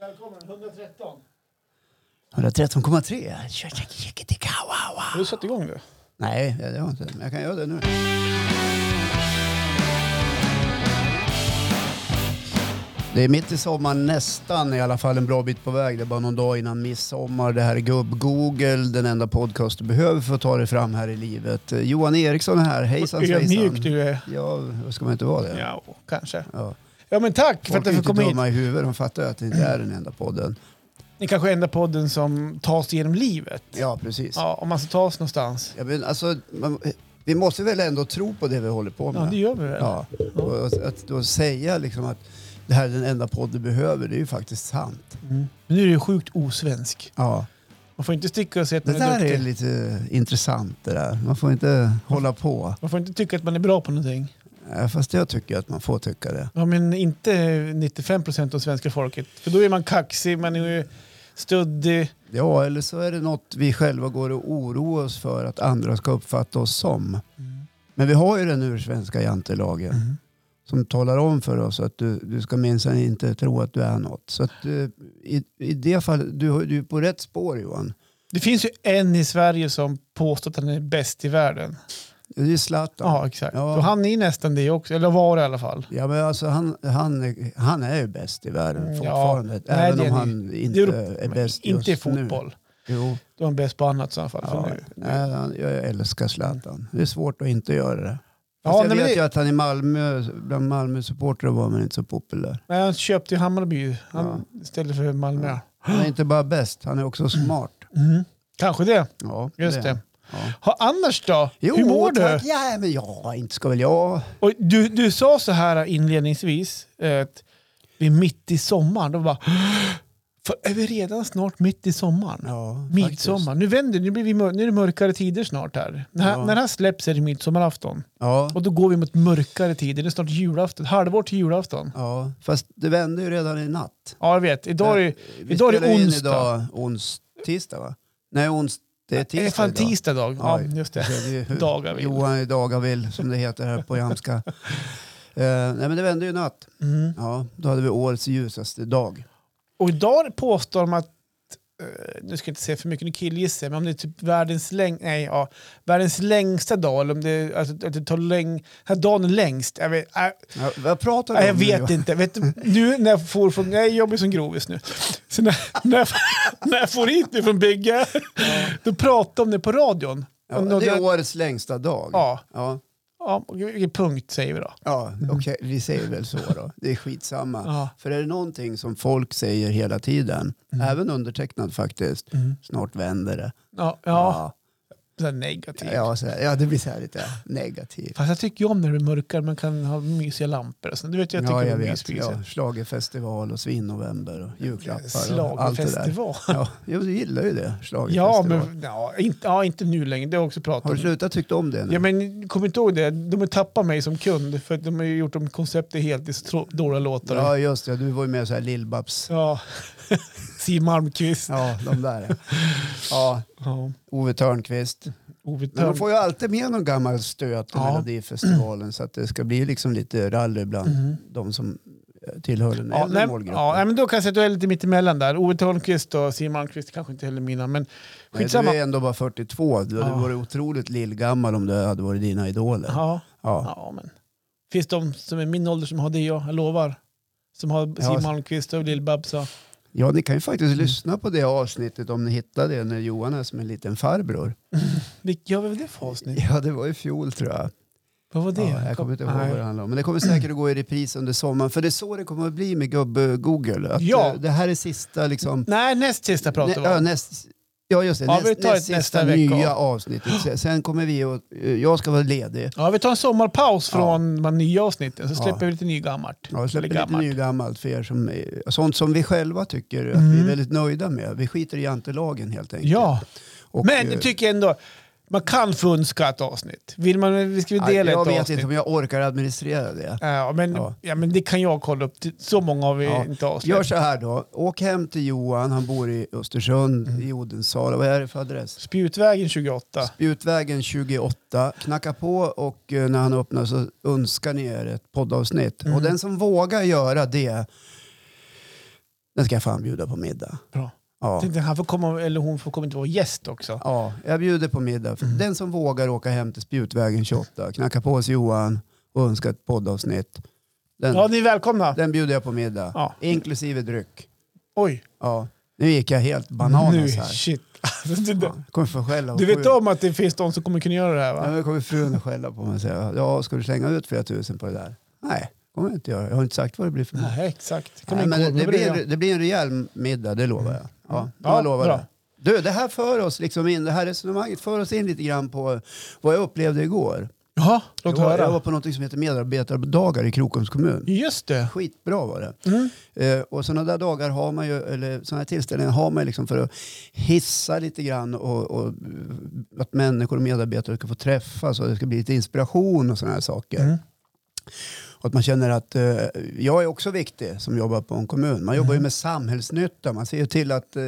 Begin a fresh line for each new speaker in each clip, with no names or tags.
Välkommen, 113.
113,3. Tja, tja, tja, tja, wow, wow.
Har du satt igång det?
Nej, det har jag inte. Men jag kan göra det nu. Det är mitt i sommaren, nästan i alla fall en bra bit på väg. Det är bara någon dag innan midsommar. Det här är Gubb-Google, den enda podcast du behöver för att ta dig fram här i livet. Eh, Johan Eriksson är här, hejsan
Ödmjuk
svejsan.
du är.
Ja, ska man inte vara det?
Ja, kanske.
Ja.
Ja men tack för att
Folk är
du fick
inte
komma hit.
dumma i huvudet, de fattar ju att det inte är den enda podden.
Ni kanske är enda podden som tar sig genom livet.
Ja, precis.
Ja, om man ska ta sig någonstans.
Ja, men alltså, man, vi måste väl ändå tro på det vi håller på med?
Ja, det gör vi väl?
Ja, och att- att då säga liksom att det här är den enda podd du behöver, det är ju faktiskt sant.
Mm. Men nu är det ju sjukt osvensk.
Ja.
Man får inte sticka och säga att
Det
man är
där
duktig.
är lite intressant det där. Man får inte hålla på.
Man får inte tycka att man är bra på någonting.
Ja, Fast jag tycker att man får tycka det.
Ja, men inte 95% av svenska folket. För då är man kaxig, man är ju stöddig.
Ja, eller så är det något vi själva går och oroar oss för att andra ska uppfatta oss som. Men vi har ju den ursvenska jantelagen
Mm.
som talar om för oss att du, du ska minsann inte tro att du är något. Så att, eh, i, i det fallet, du, har- du är på rätt spår Johan.
Det finns ju en i Sverige som påstår att han är bäst i världen.
Det är ju Zlatan.
Ja, exakt.
Ja.
Och han är nästan det också, eller var det i alla fall.
Ja, men alltså han, han, är- han är ju bäst i världen
Mm,
fortfarande.
ja. Nej,
även
det är
om
han
han inte
Det är Europa-
är bäst just
Inte i fotboll.
nu. Jo,
Då är han bäst på annat i så fall.
ja,
För nu.
nej, han- jag älskar Zlatan. Det är svårt att inte göra det.
Ja,
Fast jag
nej, men
vet
det-
ju att han i Malmö, bland Malmö-supportrar var man inte så populär.
Nej, han köpte ju Hammarby han, istället för Malmö.
Han är inte bara bäst, han är också smart.
Mhm. Kanske det.
Ja,
Just det.
Ja.
Ha, annars då?
Jo,
Hur mår
tack.
du?
Ja, men ja, inte ska väl jag.
Och du? Du sa så här inledningsvis, eh, att vi är mitt i sommaren. Då bara, för är vi redan snart mitt i sommaren?
Ja, faktiskt.
Midsommar. Nu vänder det. nu, blir vi, mör- nu är det mörkare tider snart här. När,
Ja.
när det här släpps är det midsommarafton.
Ja,
Och då går vi mot mörkare tider. Det är snart julafton. Halvår till julafton.
ja, fast det vände ju redan i natt. Eh,
Ja, jag vet. Idag är det,
Vi
idag är
spelar
det
in
onsdag.
idag ons, tisdag va? Nej, ons, det är tisdag
det är fan
idag.
tisdag idag. Ja,
Oj.
just det.
Det är ju-
Dagar vill.
Johan i Dagavill som det heter här på jamska. Eh, nej men det vände ju i natt.
Mm.
Ja, då hade vi årets ljusaste dag.
Och idag påstår de att, eh, nu ska jag inte säga för mycket, nu killgissar jag, men om det är typ världens, läng nej, ja, världens längsta dag, eller om det, är- alltså, att det tar läng här dagen är längst. Jag vet, äh,
Ja, vad pratar vi
nej, jag
om nu,
vet
Johan?
inte. Vet, du, nu när jag får från, jag jobbar som grovis nu, så när, när, jag, när jag får hit nu från bygge, då pratar de om det på radion.
Ja,
Om någon-
det är årets längsta dag.
Ja.
Ja,
ja, okej, punkt säger vi då.
ja okej, vi säger väl så då. Det är skitsamma.
Ja.
För är det någonting som folk säger hela tiden,
Mm.
även undertecknad faktiskt, snart vänder det.
Ja, typ. ja, ja. negativt.
ja, så här, ja det blir så här lite negativt.
Fast jag tycker ju om när det är mörkare, man kan ha mysiga lampor och sånt. Du vet ju, jag tycker
ja, jag
om
vet.
myspysiga.
Ja, schlagerfestival och svinnovember och julklappar och allt det där.
Schlagerfestival.
Ja, jo, du gillar ju det.
Ja,
Schlagerfestival.
men ja, inte, ja, inte nu längre. Det har jag också pratat
Har du
om.
slutat tycka om det nu?
Ja, men kom inte ihåg det. De har tappat mig som kund för att de har ju gjort om konceptet helt i så tro- dåliga låtar. Ja.
ja just det. Du var ju med så här Lill-Babs.
Siw Malmkvist. Ja.
Ja, de där. Ja, Ove Thörnqvist.
Ove
Men de
Thörn.
får ju alltid med någon gammal stöt på
Ja.
Melodifestivalen så att det ska bli liksom lite rally bland de som eh, tillhör den
Mhm. Ja,
äldre
nej,
målgruppen.
ja, nej, men då kan jag säga att du är lite mittemellan där. Ove Thörnqvist och Siw Malmkvist kanske inte heller mina, men
Nej, du
skitsamma.
är ändå bara 42. Du hade
Ja.
varit otroligt lillgammal om det hade varit dina idoler.
Ja,
Ja.
ja, men. Finns de som är min ålder som har det, ja, jag lovar. Som har
Ja.
Siw Malmkvist och Lill-Babs. och-
Ja, ni kan ju faktiskt
Mm.
lyssna på det avsnittet om ni hittar det när Johan är som en liten farbror.
Vilk- Ja, vad var det för avsnitt?
Ja, det var i fjol tror jag.
Vad var det?
Ja, jag kommer inte ihåg
Nej.
vad det handlar om. Men det kommer säkert att gå i repris under sommaren. För det är så det kommer att bli med gubb-Google. Att
Ja.
eh, Det här är sista liksom...
Nej, näst sista pratar vi
ja,
om.
näst, ja, just det.
Ja, vi
näst,
tar
näst
ett nästa
sista
vecka.
nya avsnittet. Se- Sen kommer vi och... eh, Jag ska vara ledig.
Ja, vi tar en sommarpaus
Ja.
från de nya avsnitten, så
Ja.
släpper vi lite nygammalt.
Ja, jag släpper
typ. Eller
lite
gammalt.
nygammalt för er som... eh, Sånt som vi själva tycker att vi är väldigt nöjda med. Vi skiter i jantelagen helt enkelt.
Mm. Ja,
Och,
men
eh,
jag tycker ändå, man kan funska ett avsnitt. Vill man, vi ska vi
nej,
dela
Jag
ett
vet
avsnitt?
inte om jag orkar administrera det.
Ja, men,
Ja.
ja. men det kan jag kolla upp. Det- Så många har vi
Ja.
inte avsnitt.
Gör så här då. Åk hem till Johan, han bor i Östersund,
Mm.
i Odensala. Vad är det för adress?
Spjutvägen 28.
Utvägen 28. Knacka på och eh, när han öppnar så
Mm.
önskar ni er ett poddavsnitt. Och den som vågar göra det Den ska jag fan bjuda på middag.
Bra.
Ja,
Jag tänkte han får komma, eller hon får komma inte vara gäst också.
ja jag bjuder på middag. För
Mm.
Den som vågar åka hem till Spjutvägen 28, knacka på oss Johan och önska ett poddavsnitt. Den,
Ja, ni är välkomna.
den bjuder jag på middag.
Ja.
Inklusive dryck.
Oj,
Ja. Nu gick jag helt bananas
nu
här.
shit. Alltså, du,
Ja, jag kommer få skälla. och
du vet
sju-
om att det finns de som kommer kunna göra det här
Ja,
va?
men kommer frun att skälla på mig och säga, ja ska du slänga ut flera tusen på det där? Nej, kommer jag inte göra. Jag har inte sagt vad det blir för mat.
Nej, exakt. Kom
Nej,
in,
men det, det, blir,
blir...
det blir en rejäl middag, det lovar jag. Ja,
Mm. Ja,
jag lovar
bra.
det. Du, det här för oss liksom in, det här resonemanget för oss in lite grann på vad jag upplevde igår.
Jaha, låt
jag, var, jag var
höra.
på något som heter medarbetardagar i Krokoms kommun.
Just det.
Skitbra var det.
Mm.
Eh, och sådana där dagar har man ju, eller sådana här tillställningar har man ju liksom för att hissa lite grann och, och eh, att människor och medarbetare ska få träffas och det ska bli lite inspiration och sådana här saker.
Mm.
Och att man känner att eh, jag är också viktig som jobbar på en kommun. Man
Mm.
jobbar ju med samhällsnytta, man ser ju till att eh,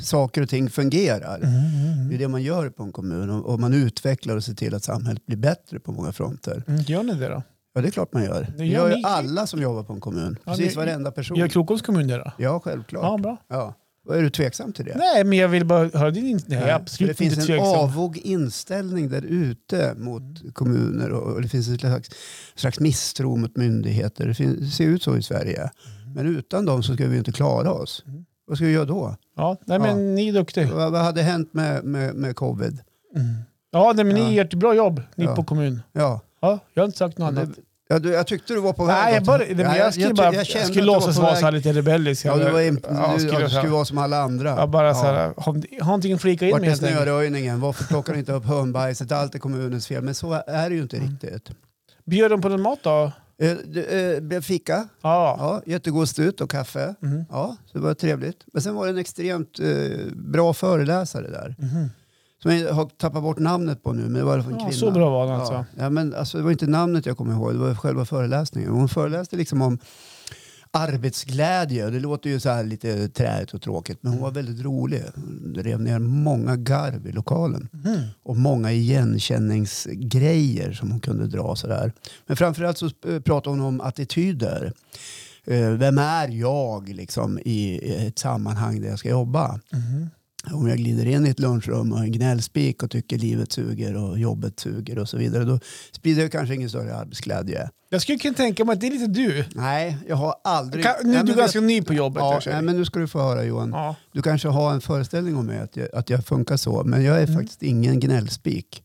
saker och ting fungerar.
Mm.
Det är det man gör på en kommun och, och man utvecklar och ser till att samhället blir bättre på många fronter.
Mm. Gör ni det då?
Ja, det är klart man gör.
Det
Det
gör
gör ju
ni-
alla som jobbar på en kommun.
Ja,
Precis
ni-
varenda person.
Gör Krokoms kommun det då?
Ja, självklart.
Ja, bra.
Ja. Och är du tveksam till det?
Nej, men jag vill bara höra din inställning. Jag är
För det
absolut
finns
inte
en
tveksam.
avog inställning där ute mot kommuner och, och det finns en slags, slags misstro mot myndigheter. Det, finns, det ser ut så i Sverige. Men utan dem så ska vi ju inte klara oss.
Mm.
Vad ska vi göra då?
Ja, nej, men
Ja.
ni är duktiga. Mm.
Vad, vad hade hänt med, med, med covid?
Ja, nej, men
Ja.
ni gör ett bra jobb, ni
Ja.
på kommun.
Ja.
Ja, jag har inte sagt något
Det-
annat.
Ja, du, jag tyckte du var på väg.
Nej, jag,
åt-
bara, nej, men
Ja,
jag skulle
jag-
bara
jag
jag
kände att
skulle
du var
låtsas
på
vara
väg.
så här lite rebellisk.
Ja, du, var in,
ja,
du,
skulle
du
jag
skulle
säga.
vara som alla andra.
Ja, bara
Ja.
så här, har, har någonting flika in
Vart
med
är
helt enkelt.
snöröjningen? Varför plockar du inte upp hönbajset? Allt är kommunens fel. Men så är det ju
Mm.
inte riktigt.
Bjöd de på någon mat då?
Eh, det, eh, blev fika.
Ja.
Ja, jättegod stut och kaffe.
Mhm.
Ja, så det var trevligt. Men sen var det en extremt eh, bra föreläsare där.
Mhm.
Som jag har tappat bort namnet på nu, men det var i alla fall en
ja
kvinna.
så bra var den
Ja.
alltså.
Ja, men alltså, det var inte namnet jag kommer ihåg, det var själva föreläsningen. Hon föreläste liksom om arbetsglädje. Det låter ju så här lite träigt och tråkigt, men hon var väldigt rolig. Hon rev ner många garv i lokalen
Mhm.
och många igenkänningsgrejer som hon kunde dra. Sådär. Men framförallt så eh, pratade hon om attityder. Eh, Vem är jag liksom, i ett sammanhang där jag ska jobba?
Mhm.
Om jag glider in i ett lunchrum och är en gnällspik och tycker livet suger och jobbet suger och så vidare, då sprider jag kanske ingen större arbetsglädje.
Jag skulle kunna tänka mig att det är lite du.
Nej, jag har aldrig...
Kan, nu
Nej,
är du
men
ganska
vet-
ny på jobbet.
Ja,
kanske.
nej, men nu ska du få höra Johan.
ja.
Du kanske har en föreställning om mig att jag, att jag funkar så, men jag är
Mm.
faktiskt ingen gnällspik.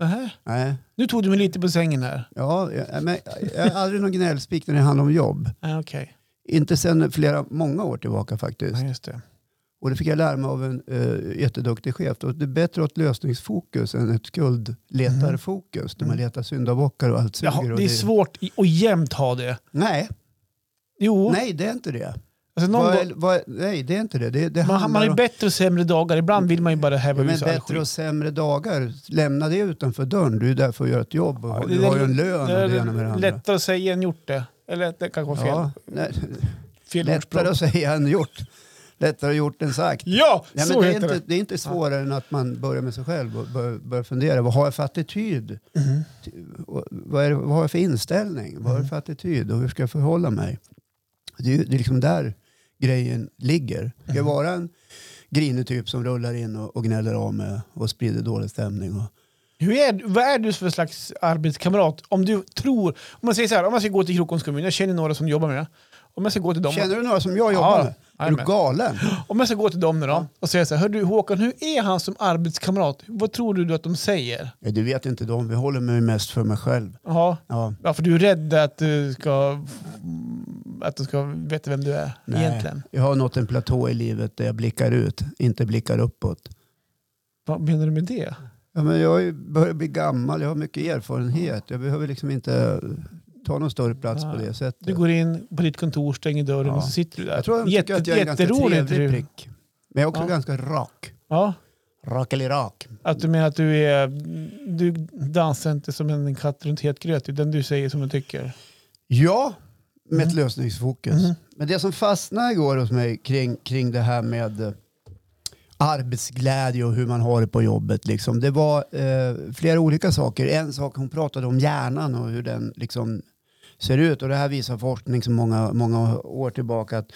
Nähä.
Nej,
Nu tog du mig lite på sängen här.
Ja, jag, men jag är aldrig någon gnällspik när det handlar om jobb.
Ja, Okej,
Inte sedan flera, många år tillbaka faktiskt.
ja, just det.
Och det fick jag lära mig av en eh, jätteduktig chef. Och det är bättre att ha ett lösningsfokus än ett skuldletarfokus. Där man letar syndabockar och allt suger.
Mm. Jaha,
och
det är svårt i- att jämt ha det.
Nej,
Jo,
nej, det är inte det.
alltså någon
Vad
gång,
är- vad är- nej, det är inte det. det, det
man,
handlar
man har ju
om-
bättre och sämre dagar. Ibland vill man ju bara häva
Ja,
ur
men
sig all
bättre
skit.
och sämre dagar, lämna det utanför dörren. Du är där för att göra ett jobb och
Ja,
har-
det
du
är
har ju en
lätt-
lön och
Det
det ena med det
är
andra.
lättare att säga än gjort det. Eller det kanske var fel,
Ja, nej,
fel ordspråk.
lättare att säga än gjort. Lättare gjort än sagt.
Ja,
Nej,
så
men det, är
heter
inte, det är inte svårare än att man börjar med sig själv och bör- börjar fundera. Vad har jag för attityd?
det. Mhm.
Och Vad, är, det- vad har jag för inställning? Vad har
Mm-hmm.
jag för attityd? Och hur ska jag förhålla mig? Det är, ju- det är liksom där grejen ligger. Ska
Mm-hmm.
jag vara en grinig typ som rullar in och, och gnäller av mig och sprider dålig stämning? Och,
Hur är, vad är du för slags arbetskamrat? Om du tror, om man säger så här, om man ska gå till Krokoms kommun, jag känner några som jobbar med det. Om jag ska gå till dem,
Känner du några som jag jobbar
Ja,
med? Är du
jajamän.
galen?
om jag ska gå till dem nu då, och säga så här, hör du Håkan, hur är han som arbetskamrat? Vad tror du att de säger?
Ja, du vet inte dem. Vi håller mig mest för mig själv.
Ja,
Ja.
ja för du är rädd att du ska, att de ska veta vem du är
Nej.
egentligen.
Jag har nått en platå i livet där jag blickar ut, inte blickar uppåt.
Vad menar du med det?
Ja, men jag är ju- börjar bli gammal, jag har mycket erfarenhet. Jag behöver liksom inte ta någon större plats på det
Du
sättet.
går in på ditt kontor, stänger dörren
Ja.
och så sitter du där.
Jag tror de tycker att jag är en ganska
jätteroligt.
trevlig
Du,
prick. Men jag är också
Ja.
ganska rak.
ja,
Rak eller rak.
Att du menar att du är... Du dansar inte som en katt runt het gröt, utan du säger som du tycker.
Ja, med ett
Mm.
lösningsfokus.
Mhm.
Men det som fastnade igår hos mig kring, kring det här med eh, arbetsglädje och hur man har det på jobbet. Liksom. Det var eh, flera olika saker. En sak, hon pratade om hjärnan och hur den liksom ser ut. Och det här visar forskning som många, många år tillbaka. att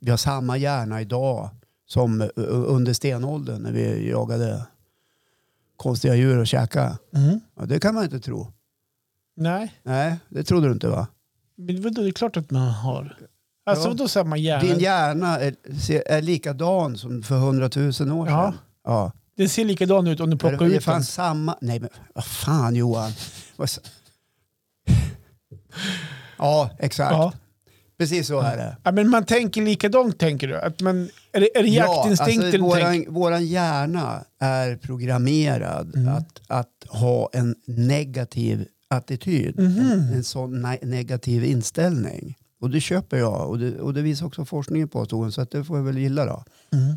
vi har samma hjärna idag som eh, under stenåldern när vi jagade konstiga djur och käkade.
Mm.
Ja, det kan man inte tro.
Nej,
Nej, det trodde du inte va?
men vadå, det är klart att man har. Alltså
Ja.
vadå samma hjärna?
Din hjärna är, ser- är likadan som för hundratusen år sedan.
Ja.
Ja.
Den ser likadan ut om du plockar
det, det
ut den.
fanns samma... Nej men vad fan Johan. Vad sa- ja, exakt.
Ja.
Precis så är det.
Ja, men man tänker likadant tänker du? Att man, är det, är det jaktinstinkten? du
ja,
tänker?
alltså, våran, våran hjärna är programmerad
Mm.
att, att ha en negativ attityd.
Mhm.
En, en sån ne- negativ inställning. Och det köper jag och det, och det visar också forskningen på Torun, så att det får jag väl gilla då.
Mm.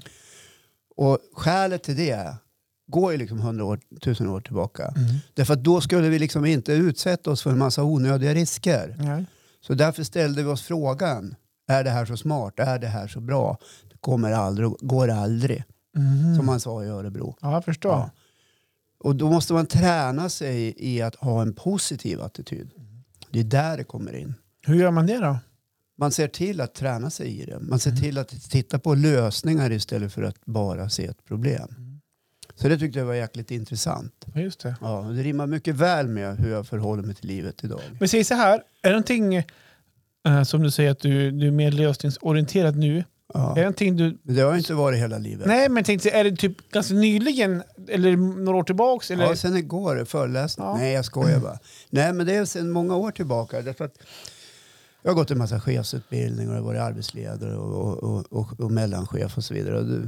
Och skälet till det går ju liksom hundra år, tusen år tillbaka.
Mm.
Därför att då skulle vi liksom inte utsätta oss för en massa onödiga risker.
Nej.
Så därför ställde vi oss frågan, är det här så smart? Är det här så bra? Det kommer aldrig, går aldrig,
Mhm.
som man sa i Örebro.
Ja, jag förstår.
Mm. Ja. Och då måste man träna sig i att ha en positiv attityd. Det är där det kommer in.
Hur gör man det då?
Man ser till att träna sig i det. Man ser till att titta på lösningar istället för att bara se ett problem. Så det tyckte jag var jäkligt intressant.
Ja, Just det.
Ja, och det rimmar mycket väl med hur jag förhåller mig till livet idag.
Men säg så här, är det någonting eh, som du säger att du, du är mer lösningsorienterad nu?
Ja.
Är det någonting du...
Men Det har jag inte varit hela livet.
Nej, men tänkte, är det typ ganska nyligen eller några år tillbaks? Eller?
Ja, sen igår, föreläsning.
Ja.
Nej, jag skojar bara. Nej, men det är sedan många år tillbaka. Därför att jag har gått en massa chefsutbildning och jag har varit arbetsledare och, och, och, och mellanchef och så vidare. Och det,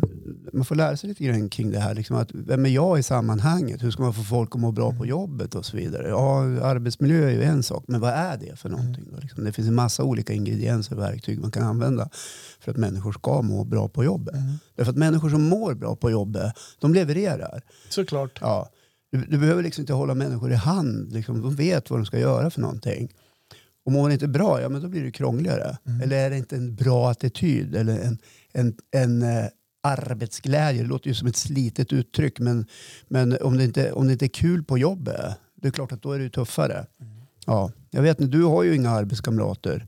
man får lära sig lite grann kring det här. Liksom att, vem är jag i sammanhanget? Hur ska man få folk att må bra på jobbet och så vidare? Ja, arbetsmiljö är ju en sak, men vad är det
Mm.
för någonting? Då? Liksom, det finns en massa olika ingredienser och verktyg man kan använda för att människor ska må bra på jobbet.
Mm.
Därför att människor som mår bra på jobbet, de levererar.
Såklart.
Ja. Du, du behöver liksom inte hålla människor i hand. Liksom, de vet vad de ska göra för någonting. Och mår man inte bra, ja men då blir det krångligare.
Mm.
Eller är det inte en bra attityd eller en, en, en eh, arbetsglädje? Det låter ju som ett slitet uttryck men, men om, det inte, om det inte är kul på jobbet, det är klart att då är det ju tuffare.
Mm.
Ja, jag vet inte, du har ju inga arbetskamrater.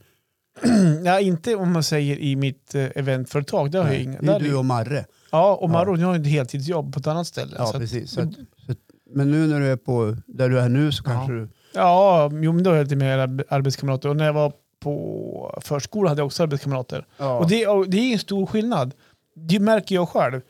Ja, inte om man säger i mitt eh, eventföretag. Där har jag inga.
det är
Där
ju du och Marre.
Ja, och Marron, jag har ju ett heltidsjobb på ett annat ställe.
Ja,
så att,
precis. Så att, så att, men nu när du är på, där du är nu så kanske du...
ja jo, men då har jag lite mer arb- arbetskamrater. Och när jag var på förskola hade jag också arbetskamrater.
Ja.
Och det, och det är en stor skillnad. Det märker jag själv.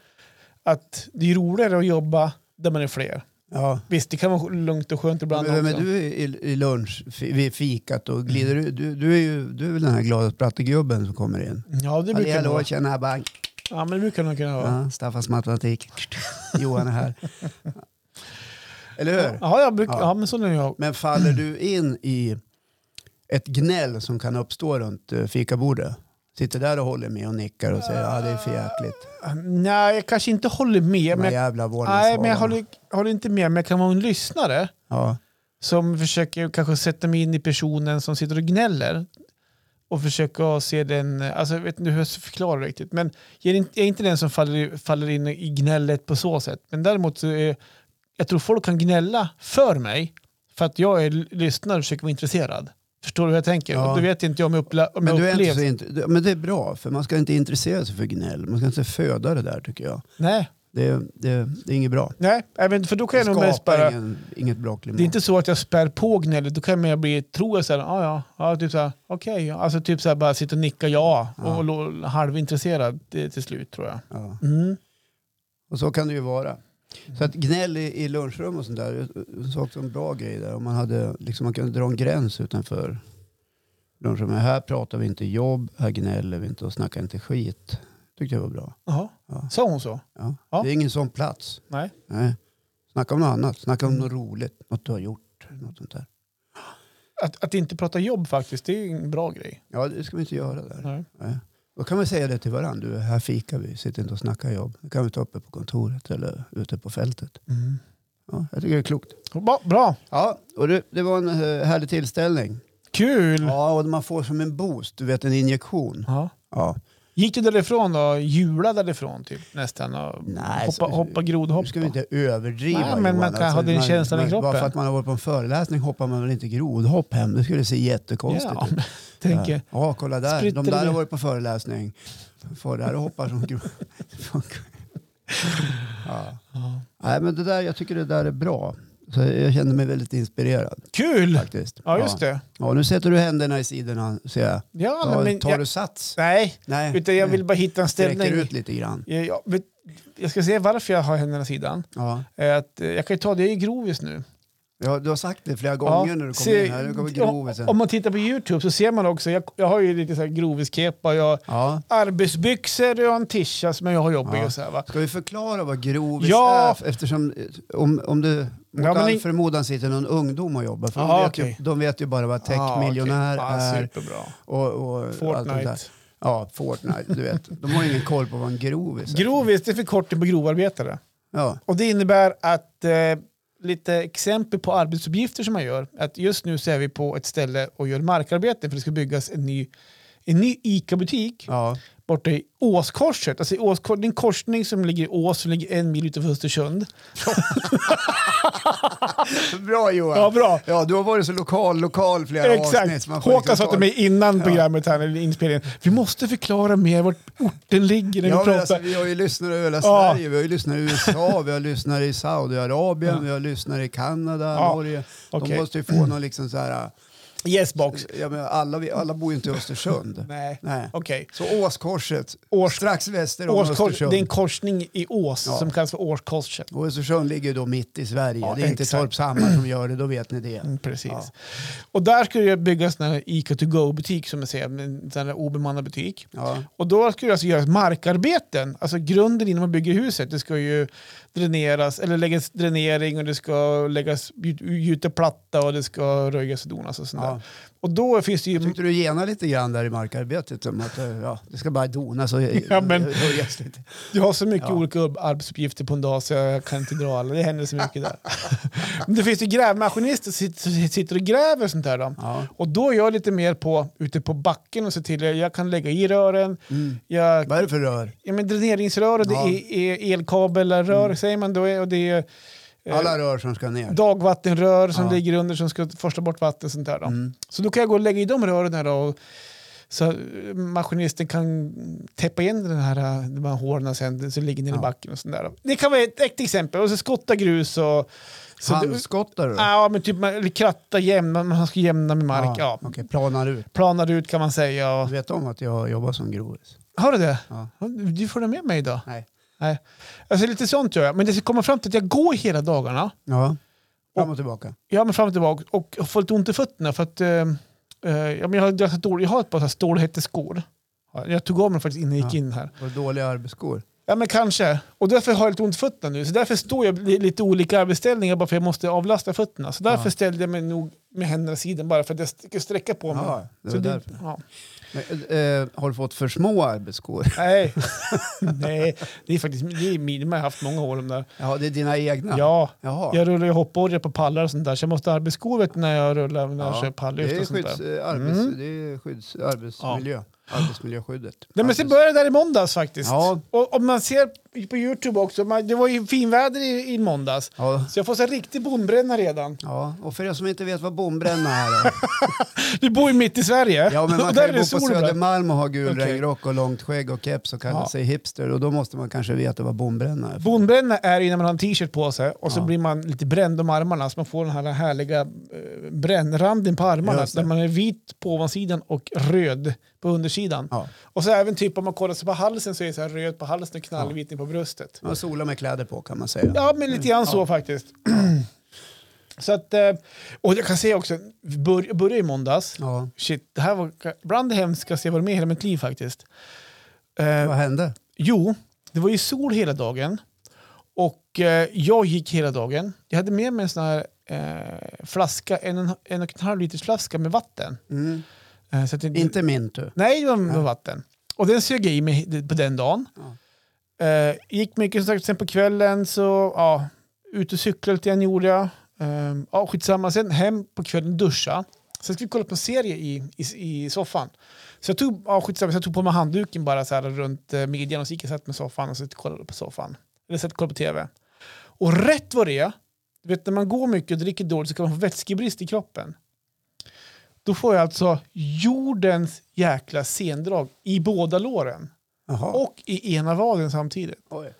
Att det är roligare att jobba där man är fler.
ja.
Visst, det kan vara lugnt och skönt ibland
Men, men
också.
du är i, i lunch, fi- vid fikat och glider
Mm.
ut. Du, du, är ju, du är väl den här glada sprattegubben som kommer in.
Ja, det
Hallå,
brukar nog
hallå,
vara.
tjena bank.
Ja, men det brukar nog kunna vara.
Ja, Staffans matematik. Johan är här. Eller hur?
Ja, jag brukar,
Ja.
ja. men så är jag.
Men faller du in i ett gnäll som kan uppstå runt eh, fikabordet? Sitter där och håller med och nickar och säger ja det är för jäkligt.
Nej, jag kanske inte håller med.
De här
Men jag,
jävla
nej, men jag
vårdnadshavarna.
håller, håller inte med. Men jag kan vara en lyssnare
Ja,
som försöker kanske sätta mig in i personen som sitter och gnäller. Och försöka se den, alltså jag vet inte hur jag ska förklara det riktigt. Men jag är inte, jag är inte den som faller, faller in i gnället på så sätt. Men däremot så är, jag tror folk kan gnälla för mig. För att jag är lyssnare och försöker vara intresserad. Förstår du hur jag tänker?
Ja.
Och då vet inte jag om jag, upple- om
Men,
jag
du är inte
upplevs...
så int- du- men det är bra, för man ska inte intressera sig för gnäll. Man ska inte föda det där tycker jag.
Nej.
Det, det, det är inget bra.
Nej, även- för då kan
Det
jag nog mest bara...
skapar ingen, inget bra klimat.
Det är inte så att jag spär på gnället, då kan jag mer bli, tror jag så här, ah, ja, ja, typ så här, okej, ja." alltså typ så här bara sitta och nicka ja och,
Ja.
och lo- halvintresserad eh, till slut tror jag.
ja.
Mm.
Och så kan det ju vara. Så att gnäll i, i lunchrum och sånt där, jag- jag sa också en bra grej där. Om man, hade, liksom, man kunde dra en gräns utanför lunchrummet. Här pratar vi inte jobb, här gnäller vi inte och snackar inte skit. Tyckte jag var bra.
Jaha,
Ja.
sa hon så?
Ja.
Ja.
Det är ingen sån plats.
Nej.
Nej. Snacka om något annat, snacka om något roligt, något du har gjort. Något sånt där.
Att, att inte prata jobb faktiskt, det är ju en bra grej.
Ja, det ska vi inte göra där.
Nej.
Nej. Då kan man säga det till varandra. Du, här fikar vi, sitter inte och snackar jobb. Det kan vi ta uppe på kontoret eller ute på fältet.
Mm.
Ja, jag tycker det är klokt.
Ba, bra,
Ja, och det, det var en eh, härlig tillställning.
kul!
Ja, och man får som en boost, du vet en injektion.
Ja.
Ja.
Gick du därifrån då? Jula därifrån typ nästan? Och
Nej,
hoppa,
så-
hoppa
Nu
grodhoppa?
ska vi inte överdriva
Nej, men
Johan. Alltså,
man kan ha den
man-
känslan i
man-
kroppen.
Bara för att man har varit på en föreläsning hoppar man väl inte grodhopp hem. Det skulle se jättekonstigt
ja,
ut.
men, tänker,
Ja, Ja, kolla där.
Spritter
De där
det.
har varit på föreläsning. Far där och hoppar som gro- ja.
ja.
Nej, men det där, jag tycker det där är bra. Så jag kände mig väldigt inspirerad
Kul!
faktiskt.
Ja, just det.
Ja, nu sätter du händerna i sidorna ser jag.
Ja,
Ja,
men,
tar
jag,
du sats?
nej,
Nej,
utan jag vill bara hitta en
sträcker
ställning.
ut lite grann.
Jag, jag, vet- Eh, jag ska säga varför jag har händerna i sidan.
Ja.
Eh, Att, eh, jag kan ju ta det, jag är grov just nu.
Ja, du har sagt det flera gånger när du kommer
se-
in här. Du kommer
om,
grovisen.
om man tittar på YouTube så ser man också, jag, jag har ju lite så här groviskepa, jag har
Ja.
arbetsbyxor och en tisha som jag har jobbig
Ja.
och så här va.
Ska vi förklara vad grovis
Ja.
är? Eftersom eh, om, om du mot
Ja, men
all
ni-
förmodan sitter någon ungdom och jobbar. För de,
Ja,
vet
okej.
ju, de vet ju bara vad techmiljonär
Ah, okej. Ah,
är
superbra.
och, och allt det
Fortnite.
där. Ja, Fortnite. Du vet. De har ingen koll på vad en grovis är.
Grovis, det är förkortning på grovarbetare.
ja.
Och det innebär att eh, lite exempel på arbetsuppgifter som man gör. Att just nu så är vi på ett ställe och gör markarbete för det ska byggas en ny, en ny ICA-butik
Ja.
borta i Åskorset. Alltså i Åskor, det är en korsning som ligger i Ås som ligger en mil utanför Östersund.
Bra Johan.
Ja, bra.
Ja, du har varit så lokal, lokal flera avsnitt.
Exakt.
så man får
Håkan sa
liksom
till
ta-
mig innan programmet här, eller inspelningen, vi måste förklara mer vart orten ligger när
Ja,
vi
men
pratar.
alltså, vi har ju lyssnare över hela
Ja.
Sverige, vi har ju lyssnare i USA, vi har lyssnare i Saudiarabien, vi har lyssnare i Kanada,
Ja,
Norge. De
okej.
måste ju få någon liksom så här,
Yes box.
jag menar, alla, vi, alla bor ju inte i Östersund.
Nej,
Nej.
okej.
Så Åskorset,
Års-
strax väster om
Årskors, det
Östersund.
är en korsning i Ås
Ja.
som kallas för Årskorset.
Och Östersund ligger ju då mitt i Sverige,
Ja,
det är inte
exakt.
Torpshammar som gör det, då vet ni det.
Mm, Precis.
Ja.
Och där skulle jag bygga en sån här Ica to go-butik som jag säger, en sån här obemannad butik.
Ja.
Och då skulle det alltså göras markarbeten, alltså grunden innan man bygger huset. Det ska ju dräneras, eller läggas dränering och det ska läggas gju- gjuta platta och det ska röjas och donas och sånt
Ja.
där. Och då finns det ju...
Jag tyckte du gena lite grann där i markarbetet om att eh, ja, det ska bara donas och
Ja, men-
höjas lite.
Jag har så mycket
Ja.
olika upp- arbetsuppgifter på en dag så jag kan inte dra alla. Det händer så mycket där. Men det finns ju grävmaskinister som sitter- som sitter och gräver sånt där. Då.
Ja.
Och då är jag lite mer på ute på backen och ser till att jag kan lägga i rören. Jag,
Mm. Vad är det för rör?
ja, men dräneringsrör och det
Ja. Mm.
är, är elkabelrör säger man då. Och det är eh,
Alla rör som ska ner.
dagvattenrör som
Ja. Mm.
ligger under som ska forsla bort vatten. och Sånt där då. Så då kan jag gå och lägga i de rören här då, och så eh, maskinisten kan täppa in den här, eh, de här håren sen så ligger nere
Ja.
i backen och sånt där. Då. Det kan vara ett, ett exempel. Och så skotta grus och... Så det,
Handskottar du?
ja, men typ man, eller kratta jämna, man ska jämna med mark. Ja.
Okej, planar ut.
Planar ut kan man säga. Och,
Du vet om att jag jobbar som grovis?
har du det?
Ja.
Du får det med mig idag.
Nej.
Nej. Alltså lite sånt gör jag. Men det ska komma fram till att jag går hela dagarna.
Ja. Fram och tillbaka.
Ja, men fram och tillbaka. Och jag får lite ont i fötterna för att eh, eh, ja, men jag, har ganska dålig, jag har ett par så här stålhätteskor. Ja, Jag tog av mig faktiskt innan jag gick
Ja.
in här.
Och dåliga arbetsskor.
Ja, men kanske. Och därför har jag lite ont i fötterna nu. Så därför står jag i lite olika arbetsställningar bara för jag måste avlasta fötterna. Så därför
Ja.
ställde jag mig nog med händerna i sidan bara för att jag st- sträcka på mig.
Ja, det
så
var
det,
därför.
ja.
Men, eh, har du fått för små arbetsskor?
Nej. Nej, det är faktiskt det är minimum jag har haft många år. De där.
Ja, det är dina egna?
Ja,
Jaha.
jag rullar ju hoppborgar på pallar och sånt där så jag måste ha arbetsskor vet, du, när jag rullar när jag
Ja,
kör palllyft
Det är,
och sånt där.
skydds, eh, arbets,
Mm.
det är skydds, arbetsmiljö. Arbetsmiljöskyddet.
Nej, men
Arbets-
sen började det där i måndags faktiskt.
Ja.
Och om man ser på Youtube också, man, det var ju finväder i, i måndags.
ja.
Så jag får så här riktig bondbränna redan.
ja, och för er som inte vet vad bombränna är då?
Vi bor ju mitt i Sverige.
Ja, men
Och
man
där
kan
är
ju
det
bo på
sol ibland.
Södermalm och ha gul
Okej.
regnrock och långt skägg och keps och kalla
Ja.
sig hipster och då måste man kanske veta vad bombränna är. för.
Bondbränna är ju när man har en t-shirt på sig och så
Ja.
blir man lite bränd om armarna så man får den här härliga eh, brännranden på armarna.
Just det.
Där man är vit på ovansidan och röd på undersidan.
Ja.
Och så även typ om man kollar sig på halsen så är det så här röd på halsen och knallvit ner på bröstet.
Man solar med kläder på kan man säga.
Ja, men lite
Mm,
grann så faktiskt. Så att, eh, och jag kan säga också, vi bör, jag började i måndags.
Ja.
Shit, det här var bland det hemskaste jag varit med i hela mitt liv faktiskt. Eh,
Vad hände?
jo, det var ju sol hela dagen och eh, jag gick hela dagen. Jag hade med mig en sån här eh, flaska, en, en, en och en halv liters flaska med vatten.
Mm.
Eh, så att det,
Inte min tur.
Nej, det var det var vatten. Och den sög jag i mig på den dagen.
Ja.
Eh, gick mycket som sagt, sen på kvällen så, ja, Ehm, ut och cyklade lite grann gjorde jag. Eh, ja, skitsamma, sen hem på kvällen duscha. Sen ska vi kolla på en serie i, i, i soffan. Så jag tog, ja, skitsamma, så jag tog på mig handduken bara så här runt eh, midjan och så gick jag och satt med soffan och så kollade på soffan. Eller satt och kollade på tv. Och rätt vad det är, du vet när man går mycket och dricker dåligt så kan man få vätskebrist i kroppen. Då får jag alltså jordens jäkla sendrag i båda låren
Jaha.
och i ena vaden samtidigt.
Oj.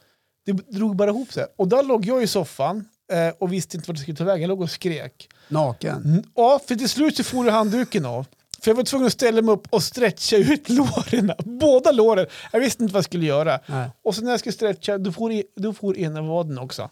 Det drog bara ihop sig. Och där låg jag i soffan eh, och visste inte vart jag skulle ta vägen. Jag låg och skrek.
Naken.
Mm, Ja, för till slut så for ju handduken av. För jag var tvungen att ställa mig upp och stretcha ut låren. Båda låren. Jag visste inte vad jag skulle göra.
Nej.
Och sen när jag skulle stretcha, då for, i- då for ena vaden också.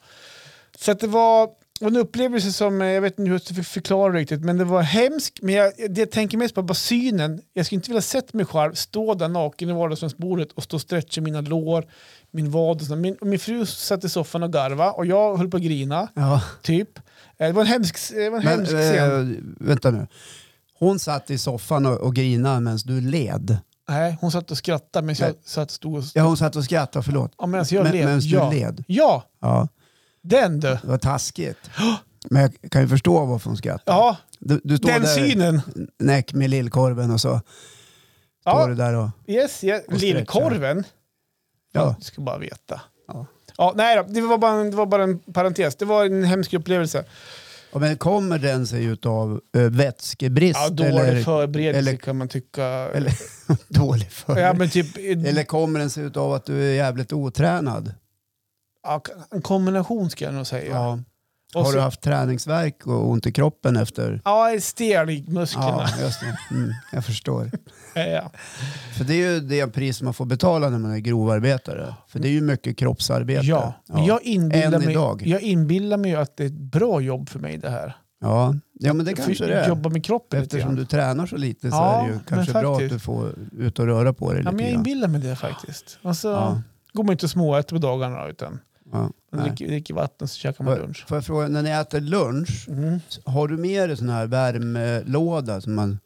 Så att det var en upplevelse som, eh, jag vet inte hur jag ska förklara riktigt, men det var hemsk. Men jag, det jag tänker mest på bara synen. Jag skulle inte vilja sett mig själv stå där naken i vardagsrumsbordet och stå och stretcha mina lår, min vad och sånt. Min, och min fru satt i soffan och garva och jag höll på att grina,
Ja.
typ. Eh, Det var en hemsk, det var en
Men,
hemsk scen.
eh, vänta nu. Hon satt i soffan och, och grinade medan du led.
Nej, hon satt och skrattade medan jag
Nej.
satt och stod och...
Ja, hon satt och skrattade, förlåt.
Ja, medan jag
Men-
led.
medans du
ja.
led.
Ja,
Ja,
den du.
det var taskigt. Men jag kan ju förstå varför hon skrattar.
Ja,
Du, du står
den
där
synen.
näck med lillkorven och så står
Ja,
du där och...
yes, yes.
Och stretchar.
Lillkorven.
Ja.
Du ska bara veta.
Ja.
Ja, nej då, det var, bara en, det var bara en parentes. Det var en hemsk upplevelse.
Ja, men kommer den sig utav eh, vätskebrist?
Ja, dålig
eller
förberedelse
eller-
kan man tycka.
eller- dålig för...
ja, men typ,
Eller kommer den sig utav att du är jävligt otränad?
ja, en kombination ska jag nog säga. Och
Har
så,
du haft träningsverk och ont i kroppen efter?
Ja, jag är stel i musklerna.
Ja, just det. Mm, jag förstår.
Ja. Ja.
För det är ju det pris man får betala när man är grovarbetare. För det är ju mycket kroppsarbete.
ja, men jag inbillar,
Än
mig,
idag.
jag inbillar mig ju att det är ett bra jobb för mig det här.
ja. ja men det kanske det är.
Jobba med kroppen lite
Eftersom
grann.
du tränar så lite så
Ja,
är det ju
men
kanske bra att
faktiskt.
du får ut och röra på dig
Ja, men
lite
jag
grann.
inbillar mig det faktiskt. Och så
Ja.
går man inte och småäter på dagarna utan
Ja,
man
nej.
dricker, dricker vatten så käkar man
Får
lunch.
får jag fråga, när ni äter lunch,
Mm.
har du med dig sån här värmelåda? Som man,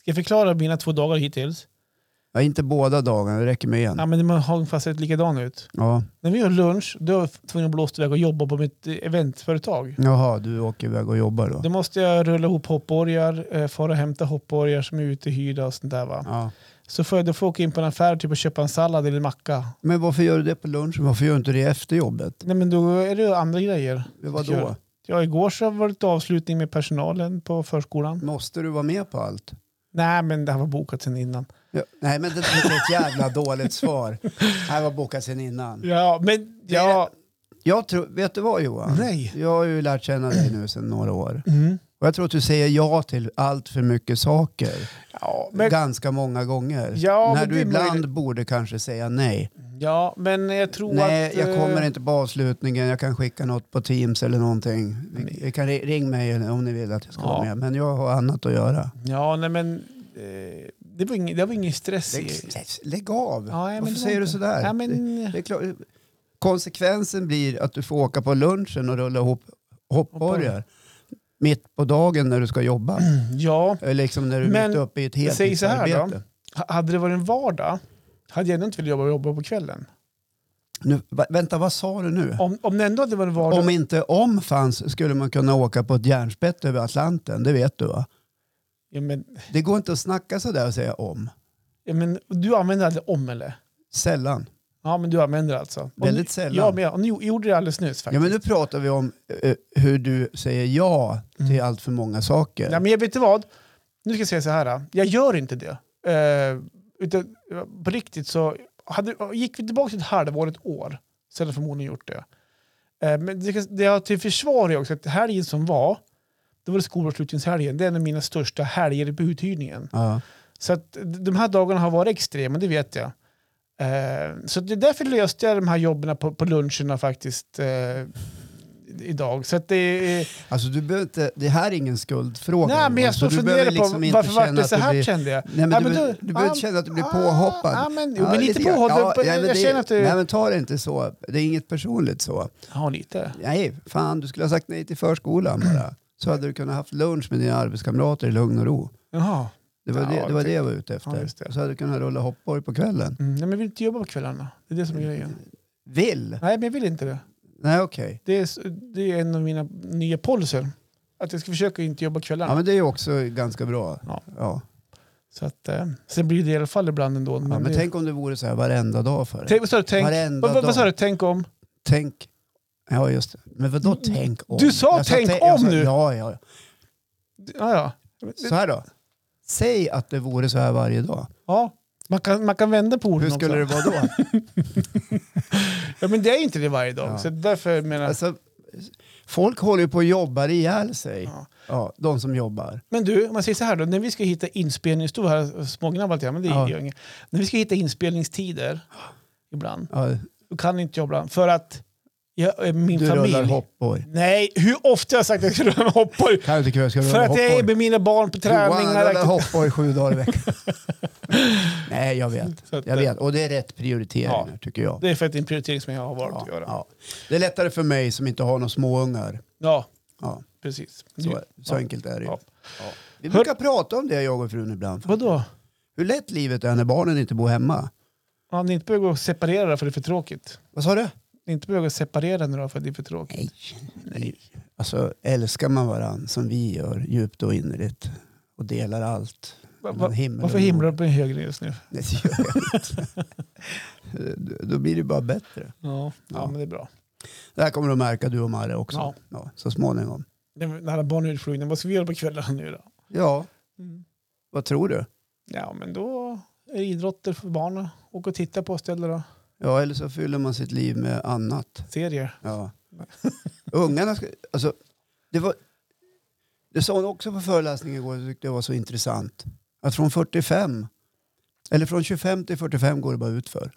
Ska jag förklara mina två dagar hittills?
ja, inte båda dagarna, det räcker med en.
Ja, men man har ungefär sett likadan ut.
Ja.
När vi gör lunch, då är jag tvungen att blåsa iväg och jobba på mitt eh, eventföretag.
Jaha, du åker iväg och jobbar då?
Då måste jag rulla ihop hoppborgar, eh, fara och hämta hoppborgar som är utehyrda och sånt där. Va?
Ja.
Så får jag, då får jag åka in på en affär typ, och köpa en sallad eller en macka.
Men varför gör du det på lunchen? Varför gör du inte det efter jobbet?
Nej, men då är det ju andra grejer.
Vadå?
Kul. Ja, igår så var det ett avslutning med personalen på förskolan.
Måste du vara med på allt?
Nej, men det här var bokat sedan innan.
Ja. Nej, men det det är ett jävla dåligt svar. Här var bokat sen innan.
Ja, men ja.
Jag tror, vet du vad Johan?
Nej.
Jag har ju lärt känna dig nu sedan några år.
Mm.
Och jag tror att du säger ja till allt för mycket saker.
Ja, men,
ganska många gånger.
Ja,
när
men
du
det är
ibland
möjligt.
borde kanske säga nej.
ja, men jag tror
Nej,
att...
jag
eh,
kommer inte på avslutningen. Jag kan skicka något på Teams eller någonting. Vi, vi kan ri- ring mig om ni vill att jag ska vara
Ja.
med. Men jag har annat att göra.
Ja, nej men... Eh, det, var ingen, det var ingen stress i...
Lägg, lägg av!
Ja, nej, men
Varför
det var
säger du
inte-
sådär?
Ja, men,
det är klart. Konsekvensen blir att du får åka på lunchen och rulla ihop hoppborgar. Mitt på dagen när du ska jobba.
ja,
Eller liksom när du är
Men,
mitt uppe i ett
jag säger så här då.
heltidsarbete.
ha- hade det varit en vardag hade jag ändå inte velat jobba, jobba på kvällen.
Nu, va- vänta, vad sa du nu?
Om, om det ändå hade varit en vardag...
Om inte om fanns skulle man kunna åka på ett järnspett över Atlanten, det vet du va?
Ja, men,
Det går inte att snacka sådär och säga om.
ja, men, du använder aldrig om eller?
Sällan.
Ja, men du använder alltså. Om-
Väldigt sällan.
Ja, men jag, och ni gjorde det alldeles nyss
Ja,
faktiskt.
men nu pratar vi om eh, hur du säger ja till allt för många saker.
Nej, Mm. men jag vet inte vad. Nu ska jag säga så här. Jag gör inte det. Eh, utan, eh, på riktigt så hade, gick vi tillbaka till ett halvår, ett år, så hade jag förmodligen gjort det. Eh, men det, kan- det jag har till försvar är också att helgen som var, det var det skolavslutningshelgen. Det är en av mina största helger på uthyrningen.
Ja.
Så att de här dagarna har varit extrema, det vet jag. Eh, så det är därför löste jag de här jobben på, på luncherna faktiskt eh, idag. Så att det är...
Alltså, du behöver inte, det här är ingen skuldfråga.
Nej,
Johan,
men jag
så
står och
du behöver
funderar
liksom
på
inte
varför vart
känna
det
att
så
du
här
blir-
kände jag.
Nej, men
Ja,
du,
men
behöver-
du-
du behöver
ja,
inte känna att du blir
ah,
påhoppad.
ja, men- jo,
Ja,
men lite
grann.
påhoppad. Jag-
nej, men
jag
det-
känner att du-
Nej, men ta det inte så. Det är inget personligt så.
Ja, lite.
Nej, fan du skulle ha sagt nej till förskolan bara. Så hade du kunnat haft lunch med dina arbetskamrater i lugn och ro.
Jaha.
Det var,
Ja, typ.
det, det, var det jag var ute
Ja,
efter.
just det.
Så hade du kunnat rulla hoppborg på kvällen.
Mm, nej, men jag vill inte jobba på kvällarna. Det är det som är grejen.
Vill?
Nej, men jag vill inte det.
Nej okej.
Det är, s- det är en av mina nya policyer. Att jag ska försöka inte jobba kvällarna.
Ja, men det är ju också ganska bra.
Ja.
Ja.
Så att, eh, sen blir det i alla fall ibland ändå.
Ja, men
det,
tänk om det vore så här varenda dag för dig.
tänk, vad sa du? Tänk,
Varenda
vad, vad, vad sa
dag.
du? Tänk om?
Tänk. Ja, just det. Men vadå tänk om?
Mm. Du sa tänk
tän- jag
om nu.
Ja, ja.
Ja, ja.
Så här då. Säg att det vore så här varje dag.
ja. Man, kan, man kan vända på orden
Hur skulle det
också.
vara då?
Ja, men det är ju inte det varje dag.
Ja.
Så därför menar jag.
Alltså, folk håller ju på och jobbar ihjäl sig.
Ja.
Ja, de som jobbar.
Men du, om man säger så här då. När vi ska hitta inspelning, stod här och smågnabbade lite grann, men det
Ja.
gör inget. När vi ska hitta inspelningstider ibland,
Ja,
då kan inte jag ibland. För att jag, eh, min
du
familj...
rullar hoppborg.
Nej, hur ofta har jag sagt att jag skulle röra hoppborg?
Kan du inte kul, ska du
För
rulla
att jag är
hoppborg?
med mina barn på träningar.
Johan rullar hoppborg sju dagar i veckan. Nej, jag vet.
Så att,
Jag
eh,
vet. Och det är rätt prioriteringar
Ja.
tycker jag.
Det är för att det är en prioritering som jag har valt
Ja,
att göra.
ja. Det är lättare för mig som inte har några småungar.
Ja,
Ja,
precis.
så, så
Ja.
enkelt är det ju.
Ja.
Ja. Vi brukar prata om det jag och frun ibland.
Vadå?
Hur lätt livet är när barnen inte bor hemma.
Ja, ni inte behöver gå och separera för det är för tråkigt.
Vad sa du?
Ni inte behöver gå och separera nu då för det är för tråkigt.
Nej. Nej. Alltså älskar man varann som vi gör djupt och innerligt och delar allt.
Va,
mellan
va,
himmel och
varför
jord.
himlar du på en högre just nu?
Nej, det gör jag inte. Då- Då blir det bara bättre.
Ja,
Ja.
ja. men det är bra.
Det här kommer du märka du och Marre också. Ja.
Ja.
så småningom.
Det är När alla barn är utflugna, vad ska vi göra på kvällarna nu då?
Ja,
Mm.
vad tror du?
Ja, men då är det idrotter för barnen. Åka och titta på oss eller då.
Ja, eller så fyller man sitt liv med annat.
Serier.
Ja. Ungarna ska, alltså, det, var, det sa hon också på föreläsningen igår, jag tyckte det var så intressant. Att från 45, eller från 25 till 45 går det bara utför.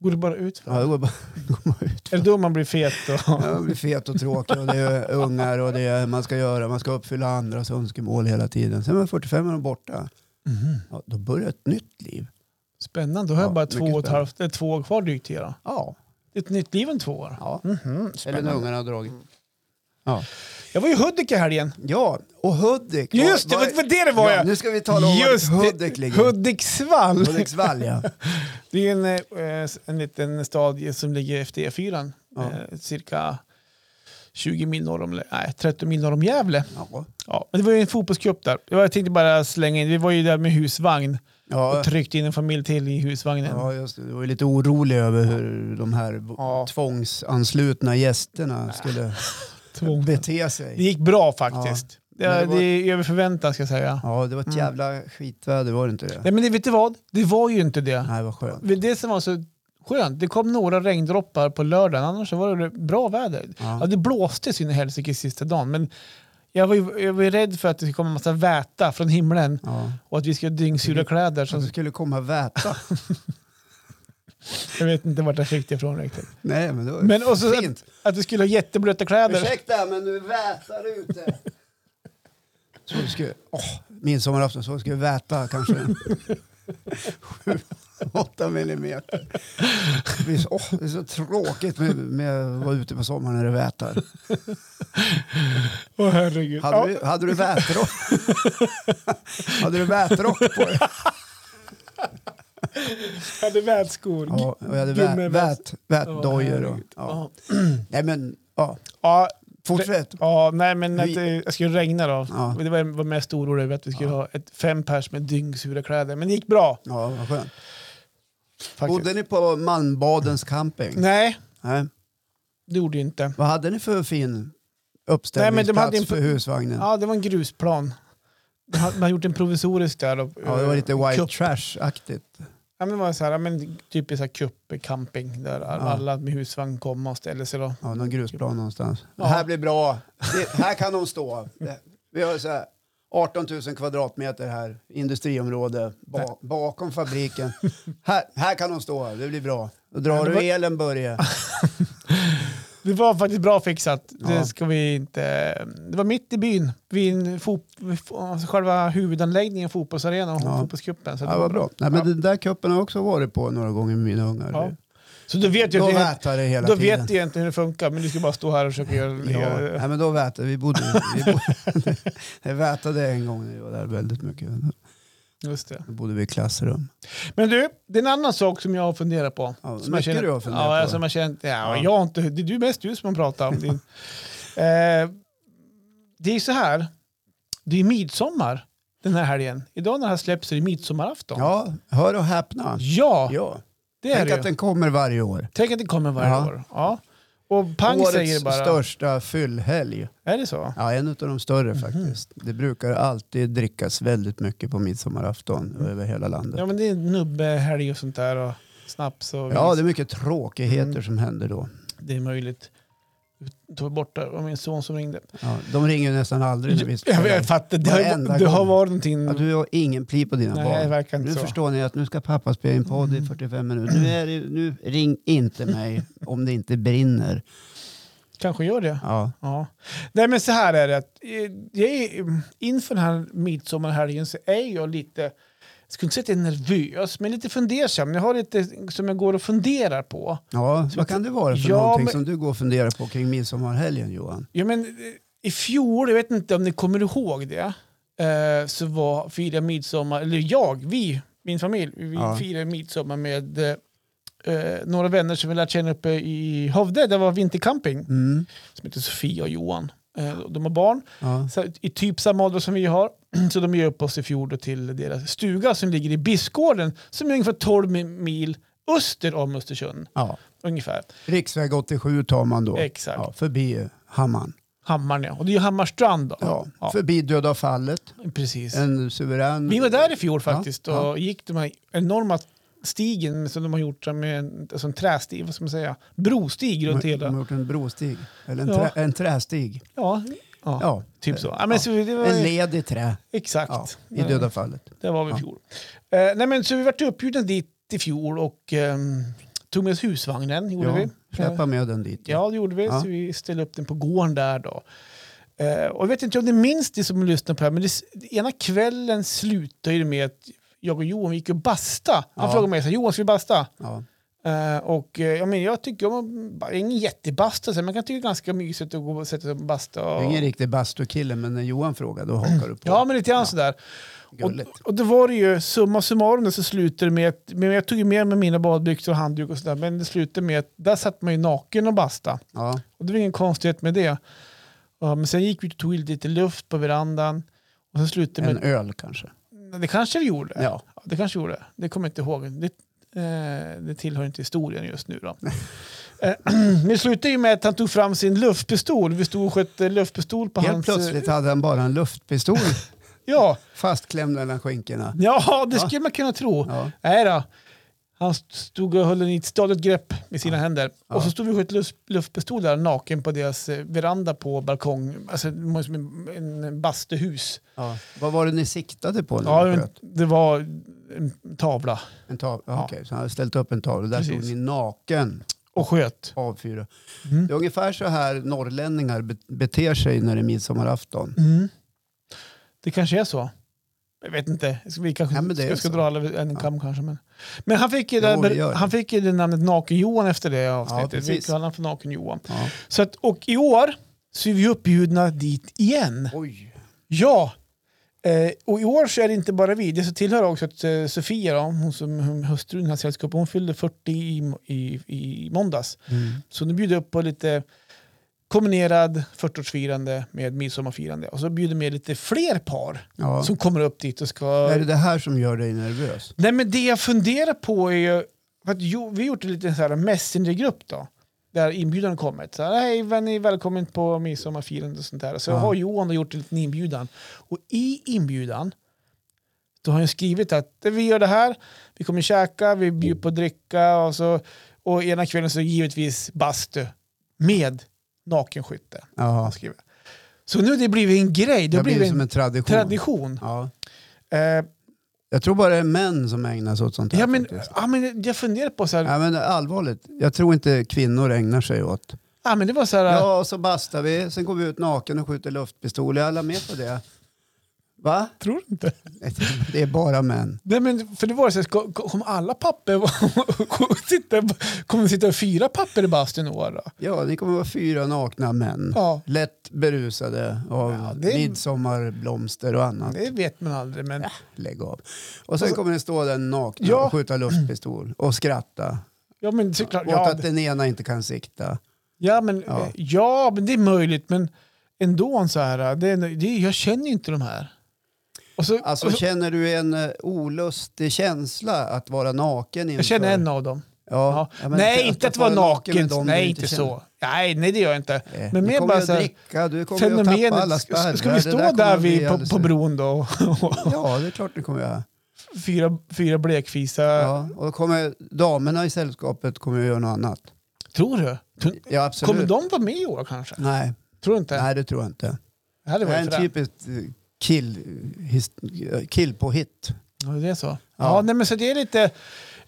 Går det bara ut?
Ja, det går bara, går bara
Är det
utför.
då man blir fet? Då?
Ja, Man blir fet och tråkig och det är ungar och det är, man ska göra, man ska uppfylla andras önskemål hela tiden. Sen var 45 är de borta.
Mhm.
Ja, då börjar ett nytt liv.
Spännande, då har jag
Mm. Ja,
bara
mycket
två och ett
spännande.
halvt, eh, två år kvar drygt till era.
Ja,
Ett nytt liv om två år.
ja.
Mhm,
eller när
spännande.
ungarna har dragit.
Jag var i Hudik i helgen.
Ja, och Hudik. var-
Just det,
var-
vad vad det det var
ja,
jag.
Nu ska vi tala om
Just
var
det.
Hudik ligger.
Hudiksvall.
Hudiksvall, ja.
Det är en, eh, en liten stad som ligger efter E4.
Ja.
Eh, cirka 20 mil norr om, nej, 30 mil norr om Gävle.
Ja,
Ja, men det var ju en fotbollscup där. Det var- Jag tänkte bara slänga in, vi var ju där med husvagn
ja,
och tryckte in en familj till i husvagnen.
ja just det. Du var ju lite orolig över hur de här bo-
Ja.
tvångsanslutna gästerna skulle
Två.
bete
Det
sig.
gick bra faktiskt.
Men
det,
det
det,
var-
är över förväntan ska jag säga.
Ja, det var ett
Mm.
jävla skitväder, var det inte det?
Nej men det, vet du vad? Det var ju inte det.
Nej, vad skönt.
Det är Det som var så skönt, det kom några regndroppar på lördagen, annars så var det bra väder. Ja,
Ja.
det blåste så in i helsike sista dagen, men jag var, ju, jag var ju rädd för att det skulle komma en massa väta från himlen
Ja.
och att vi skulle ha dyngsura kläder.
Så det
Så
skulle komma väta.
jag vet inte vart jag fick det ifrån riktigt.
Nej, men det var
Men och så
fint.
att, att vi skulle ha jätteblöta kläder.
Ursäkta, men nu vätar det ute. Så du skulle, åh, midsommarafton, så du skulle väta kanske sju, åtta millimeter. Det är, så, åh, det är så tråkigt med, med att vara ute på sommaren när det vätar.
Åh herregud.
Hade,
Ja,
du, hade du vätrock? hade du vätrock på dig?
jag hade vätskor.
Ja, och jag hade vä,
Gummivät-
vät,
Ja,
vätdojor. och-
herregud.
Ja.
Ja.
Nej men, ja,
Ja,
fortsätt.
ja, nej men att
Vi-
det jag skulle regna då.
Ja.
Det var, var mest orolig över att vi skulle ha ett fem pers med dyngsura kläder. Men det gick bra
Ja, vad skönt.
faktiskt.
Bodde ni på Malmbadens camping?
Nej,
Nej.
det gjorde ju inte.
Vad hade ni för fin
Nej, men
uppställningsplats
de hade en-
för husvagnen? Ja,
Ja, det var en grusplan. De har- Man har gjort en provisorisk där. eh, Och,
det var lite white
Cup.
trash-aktigt.
Ja, men det var så här, ja, men typiskt så här cup-camping där alla med husvagn kom och ställde sig. Då.
Ja, någon grusplan någonstans.
Ja.
Det här blir bra. Det, här kan de stå. Det, vi har så här 18 000 kvadratmeter här, industriområde, ba, bakom fabriken. Här, här kan de stå, det blir bra. Då drar
Ja, det
du
var-
elen Börje.
Det var faktiskt bra fixat.
Ja.
Det, ska vi inte, det var mitt i byn, vid en fot, alltså själva huvudanläggningen, fotbollsarenan och
Ja.
fotbollscupen. Så,
Ja,
det var
vad
bra.
bra. Nej, men
Ja.
Den där kuppen har jag också varit på några gånger med mina ungar.
Ja. så då vet
De
jag, att
vätar det hela
det, då
tiden.
vet jag egentligen hur det funkar, men du ska bara stå här och försöka göra...
Ja,
göra-
nej, men då vätade vi. Bodde, vi bodde, jag vätade en gång när vi var där väldigt mycket.
Just det.
Då bodde vi i klassrum.
Men du, det är en annan sak som jag har funderat på.
Ja,
som
mycket
jag känner,
du har funderat
ja,
på.
Som jag känt, ja,
Ja.
Jag har inte, det är du mest du som har pratat om din. eh, det är ju så här, det är midsommar den här helgen. Idag när det här släpps är det midsommarafton.
Ja, hör och häpna.
Ja,
Ja.
det är
Tänk
det
att
ju.
den kommer varje år.
Tänk att det kommer varje
Ja.
år. Ja. Och pang
Årets
säger det bara.
största fyllhelg.
Är det så?
Ja, en av de större
Mhm.
faktiskt. Det brukar alltid drickas väldigt mycket på midsommarafton över hela landet.
Mm. Ja men det är nubbehelg och sånt där och snaps och
Ja,
det...
det är mycket tråkigheter
Mm.
som händer då.
det är möjligt. Jag tog bort det, det var min son som ringde.
Ja, de ringer ju nästan aldrig när vi
Jag,
spelar.
vet, fattar, det, har,
Varenda
ju- det har
gång.
varit någonting.
Ja, du har ingen pli på dina
Nej, det
barn.
verkar inte
Nu
så. Mm.
förstår ni att nu ska pappa spela in podd i 45 minuter. Nu, är det, nu ring inte mig om det inte brinner.
Kanske gör det.
Ja.
Ja. Nej men så här är det. att, eh, Jag är, inför den här midsommarhelgen så är jag lite, jag skulle inte säga att jag är nervös, men lite fundersam. Jag har lite som jag går och funderar på.
Ja, vad kan det vara för
Ja,
någonting
men-
som du går och funderar på kring midsommarhelgen Johan?
Ja, men, eh, I fjol, jag vet inte om ni kommer ihåg det, eh, så var, firade jag midsommar, eller jag, vi, min familj, vi
Ja.
firade midsommar med eh, några vänner som vi lärt känna uppe i Hövde, där var vintercamping,
Mm.
som heter Sofia och Johan. Eh, de har barn.
Ja.
Så I typ samma ålder som vi har. Så de ger upp oss i fjol då till deras stuga som ligger i Biskgården som är ungefär 12 mil öster om Östersund.
Ja.
Ungefär.
Riksväg 87 tar man då.
Exakt.
Ja, förbi Hammarn.
Hammarn ja. Och det är ju Hammarstrand då.
Ja. Förbi Döda fallet.
precis.
En suverän...
Vi var där i fjol
Ja,
faktiskt
ja.
och gick de här enorma stigen som de har gjort med en, alltså en trästig, vad ska man säga, brostig runt
De har
hela.
gjort en brostig. Eller en,
Ja.
trä, en trästig.
Ja, ja,
Ja.
typ så. Ja, men, så det var,
En led i trä.
exakt.
Ja, I Döda fallet.
Det var vi i
Ja.
fjol. Eh, nej, men, så vi vart uppbjudna dit i fjol och ehm, tog med oss husvagnen. Gjorde
Ja.
vi. Eh,
Släppa med den dit.
ja, det gjorde vi.
Ja.
Så vi ställde upp den på gården där. Då. Eh, och jag vet inte om ni minns det som lyssnar på det här, men det, s- ena kvällen slutade det med att jag och Johan gick och basta. Han
Ja.
frågade mig, så här, Johan ska vi basta?
Ja.
Eh, och eh, jag, men, jag tycker om, jag är ingen jättebasta, så här, men jag kan tycka det är ganska mysigt att gå och sätta sig och basta.
Du
Och,
är ingen riktig bastukille, men när Johan frågar då hakar du på.
ja, men lite grann sådär. Och,
Gulligt.
och då var det ju, summa summarum så slutade det med att, men jag tog ju med mig mina badbyxor och handduk och sådär, men det slutade med att där satt man ju naken och basta.
Ja.
Och det var ingen konstighet med det. Ja, men sen gick vi och tog lite luft på verandan och sen slutade det
En
med,
öl kanske.
det kanske vi gjorde.
Ja.
Ja, det kanske vi gjorde, det kommer jag inte ihåg. Det, eh, det tillhör inte historien just nu då. Eh, men det slutade ju med att han tog fram sin luftpistol, vi stod och sköt eh, luftpistol på
Helt
hans... eh,
plötsligt hade han bara en luftpistol
Ja,
fastklämd mellan skinkorna.
ja, det skulle man kunna tro.
Ja.
Nej då. Han stod och höll den i ett stadigt grepp med sina händer.
Ja.
Och så stod vi och sköt luft, luftpistol där naken på deras eh, veranda på balkong. Alltså det var som en, en bastuhus.
Ja. Vad var det ni siktade på när
Ja,
ni
men
sköt?
det var en tavla
En tavla?
Ja.
Ja. Okej, så han hade ställt upp en tavla. Där
Precis.
stod ni naken
och sköt.
avfyra.
Mm.
Det är ungefär så här norrlänningar be- beter sig när det är midsommarafton.
Mm. Det kanske är så. Jag vet inte. Vi kanske
Ja, men det är
ska, ska
så.
dra alla över en kam kanske. Men, men han fick ju, det,
Jo, det gör det.
han fick ju det namnet Naken-Johan efter det avsnittet.
precis.
vi kallade honom för Naken-Johan.
Ja.
Så att, och i år så är vi uppbjudna dit igen.
Oj.
Ja, eh, och i år så är det inte bara vi. Det så tillhör också att eh, Sofia, då, hon som hon- hustrun i hans sällskap, hon fyllde 40 i, i, i måndags.
Mm.
Så nu bjuder jag upp på lite kombinerad 40-årsfirande med midsommarfirande. Och så bjuder med lite fler par
Ja.
som kommer upp dit och ska...
Är det det här som gör dig nervös?
Nej, men det jag funderar på är ju... För att jo, vi har gjort en liten så här messengergrupp då. Där inbjudan har kommit. Så här, Hej, vem är välkommen på midsommarfirandet och sånt där. Så
Ja.
har Johan då gjort en liten inbjudan. Och i inbjudan då har han skrivit att vi gör det här, vi kommer käka, vi bjuder på dricka och så och ena kvällen så givetvis bastu med nakenskytte. har
Ja.
han skrivit. Så nu har det blivit en grej, det
Det
har
har blivit
blivit
som
en
en tradition.
tradition.
Ja.
Eh,
Jag tror bara det är män som ägnar sig åt sånt här.
ja, men,
faktiskt.
ja, men jag funderar på så här,
Ja, men allvarligt, jag tror inte kvinnor ägnar sig åt.
Ja, men det var så här,
Ja, och så bastar vi, sen går vi ut naken och skjuter luftpistol. Är alla med på det? Va?
Tror du inte?
Nej, Det är bara män.
Nej, men för det var så här, ska, kommer alla papper vara- sitta, kommer det sitta fyra papper i bastun i år då?
Ja, ni kommer vara fyra nakna män.
Ja,
Lätt berusade av
Ja, det är-
midsommarblomster och annat.
det vet man aldrig. Men,
Lägg av. Och sen kommer ni stå där nakna
Ja.
och skjuta luftpistol och skratta.
ja, men såklart,
Åt
ja,
att den ena inte kan sikta.
ja, men,
Ja.
ja, men det är möjligt. Men ändå så här, det, det, jag känner ju inte de här. Och så,
Alltså
och så,
känner du en eh, olustig känsla att vara naken inför?
jag känner en av dem.
Ja.
Ja.
Ja, men
nej, inte att vara naken.
med dem du
Nej, inte
känner.
så. Nej, nej, det gör jag inte.
Nej.
Men
du
mer
kommer
bara
ju
så
att
här,
dricka, du kommer ju att tappa alla
Fenomenet,
spärrar.
ska, ska vi
Det
stå
kommer
där
att bli
vid, på,
alldeles-
på bron då och,
Ja, det är klart det kommer jag göra.
fyra, fyra blekfisar?
Ja, och då kommer damerna i sällskapet kommer ju göra något annat.
Tror du? Tror-
Ja, absolut.
Kommer de vara med i år kanske?
Nej,
Tror du inte?
nej, det tror jag inte.
Det hade
Det är
varit
en
fränt.
typisk eh, kill, his, kill på hit.
Ja, det är så. Ja.
Ja.
nej, men så det är lite...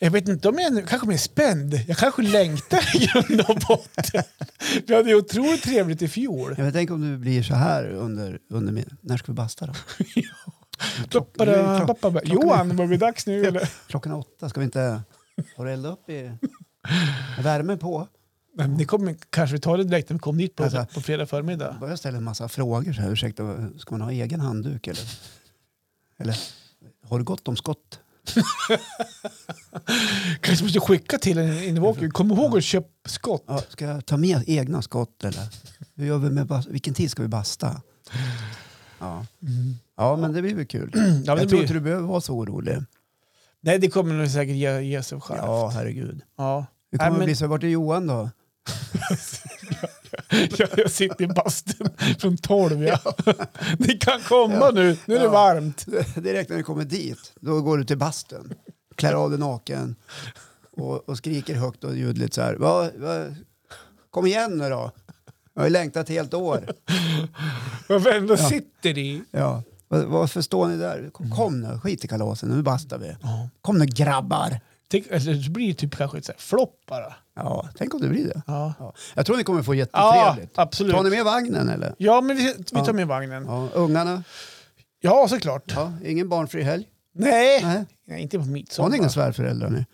Jag vet inte om jag är- kanske mer spänd. Jag kanske längtar i grund och botten. Vi hade ju otroligt trevligt i fjol.
Jag tänk om du blir så här under, under min... När ska vi basta då? Klock- nu är
Pappa,
klock-
pappa, pappa. Johan, börjar det bli dags nu eller?
Klockan är åtta, ska vi inte... Har du eldat upp i... Är värmen på?
Nej, men det kommer, kanske vi tar det direkt när vi kommer dit på,
Alltså.
på fredag förmiddag.
Jag börjar ställa en massa frågor. Så här, ursäkta, ska man ha egen handduk eller? Eller har du gott om skott?
Kanske måste skicka till en inwalker. Kom ihåg att köpa skott.
Ja, ska jag ta med egna skott eller? Hur gör vi med bas- Vilken tid ska vi basta? Ja. ja, men det blir väl kul.
Mm. Ja, men
jag
det
tror
blir,
inte du behöver vara så orolig.
nej, det kommer nog säkert ge, ge sig själv. Ja.
Ja, herregud.
Ja.
Det kommer
Nej, men-
att bli så. Vart är Johan då?
Jag, jag sitter i bastun från tolv. Ja. Ni kan komma nu, nu är det
Ja.
varmt.
Direkt när du kommer dit, då går du till bastun, klär av dig naken och, och skriker högt och ljudligt så här. Va, va, kom igen nu då. Jag har ju längtat ett helt år.
Varför ändå
Ja.
sitter i?
Ja. Va- Varför står ni där? Kom, kom nu, skit i kalasen, nu bastar vi.
Mm. Ja.
Kom nu grabbar.
Tänk, alltså, det blir typ kanske ett så här flopp bara.
Ja, tänk om det blir det.
Ja,
Ja. Jag tror ni kommer få
ja
jättetrevligt.
absolut.
Tar ni med vagnen eller?
Ja, men vi, vi
Ja.
tar med vagnen.
Ja, ungarna?
Ja, såklart.
Ja, ingen barnfri helg?
Nej.
Nej.
Nej, inte på
Har ni inga
midsommar.
svärföräldrar nu?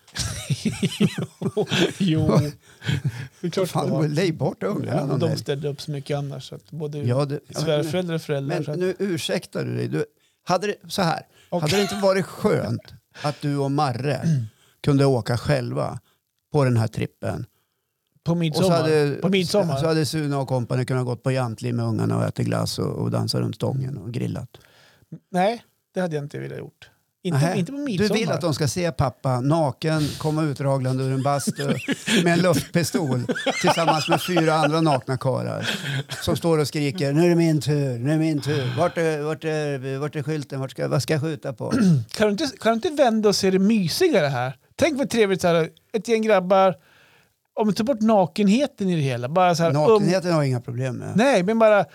jo, det är klart det
Fan,
var.
lägg bort ungarna
Ja,
någon
de
helg.
ställde upp så mycket annars. Så att både
Ja, det- ja, men-
svärföräldrar och föräldrar.
Men
så att,
nu ursäktar du dig. Du, hade det, så här,
Okej.
hade det inte varit skönt att du och Marre kunde åka själva på den här trippen?
på
Och så
midsommar.
hade, alltså-
på midsommar.
så hade Sune och kompani kunnat gått på Jantli med ungarna och ätit glass och, och dansa runt stången och grillat.
Nej, det hade jag inte velat gjort. Inte,
Nähä.
inte på
Du
midsommar.
vill att de ska se pappa naken komma utraglande ur en bastu med en luftpistol tillsammans med fyra andra nakna karlar som står och skriker nu är det min tur, nu är det min tur, vart är, vart är, vart är skylten, vart ska, vad ska jag skjuta på?
Kan, du inte, kan du inte vända och se det mysigare här? Tänk vad trevligt så här, ett gäng grabbar, om du tar bort nakenheten i det hela. Bara så här, Um,
Nakenheten har jag inga problem med.
nej, men bara...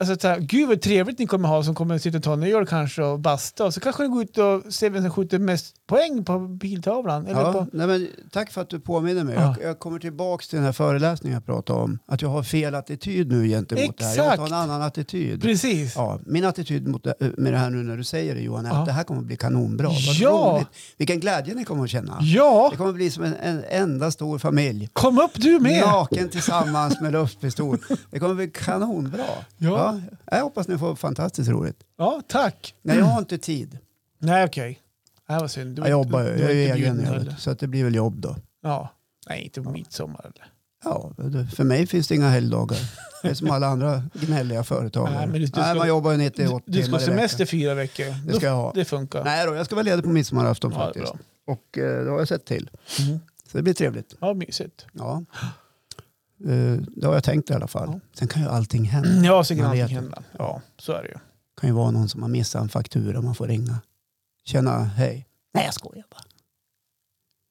Alltså, så här, gud vad trevligt ni kommer ha som kommer sitta och ta en öl kanske och basta. Och så kanske ni går ut och ser vem som skjuter mest poäng på piltavlan. Eller
Ja,
på,
nej men, tack för att du påminner mig.
Ja.
Jag, jag kommer tillbaka till den här föreläsningen jag pratade om. Att jag har fel attityd nu gentemot det här. Jag måste ha en
Exakt.
annan attityd.
precis.
Ja, min attityd mot det, eh, med det här nu när du säger det Johan är
Ja.
att det här kommer att bli kanonbra. Vad
Ja.
roligt. Vilken glädje ni kommer att känna.
Ja,
Det kommer att bli som en, en enda stor familj.
kom upp du med!
Naken tillsammans med luftpistol. Det kommer att bli kanonbra.
Ja.
Ja, jag hoppas ni får fantastiskt roligt.
Ja, tack.
Nej, jag har inte tid.
Nej, okej. Det här var synd. Mm. Du,
Jag jobbar ju.
du- du
Jag är
var
ju
inte
egen.
bjuden
jag
heller.
vet. Så att det blir väl jobb då.
Ja. Nej, inte på midsommar. Eller?
Ja, det- för mig finns det inga helgdagar. Det är som alla andra gnälliga företagare.
Nej,
Nej,
men du- du ska-
man jobbar ju 90
Du,
80
du ska
timmar
ha
i veckan.
semester fyra veckor.
Det ska jag ha.
Det funkar.
Nej då, jag ska vara ledig på midsommarafton
Ja, det är
faktiskt. Och eh, det har jag sett till.
Mm.
Så det blir trevligt.
Ja, mysigt.
Ja. Eh, det har jag tänkt i alla fall.
Ja.
Sen kan ju allting hända.
Ja, så kan
Man vet
allting
inte.
hända. Ja, så är det ju.
Det kan ju vara någon som har missat en faktura man får ringa. Tjena, hej. Nej jag skojar bara.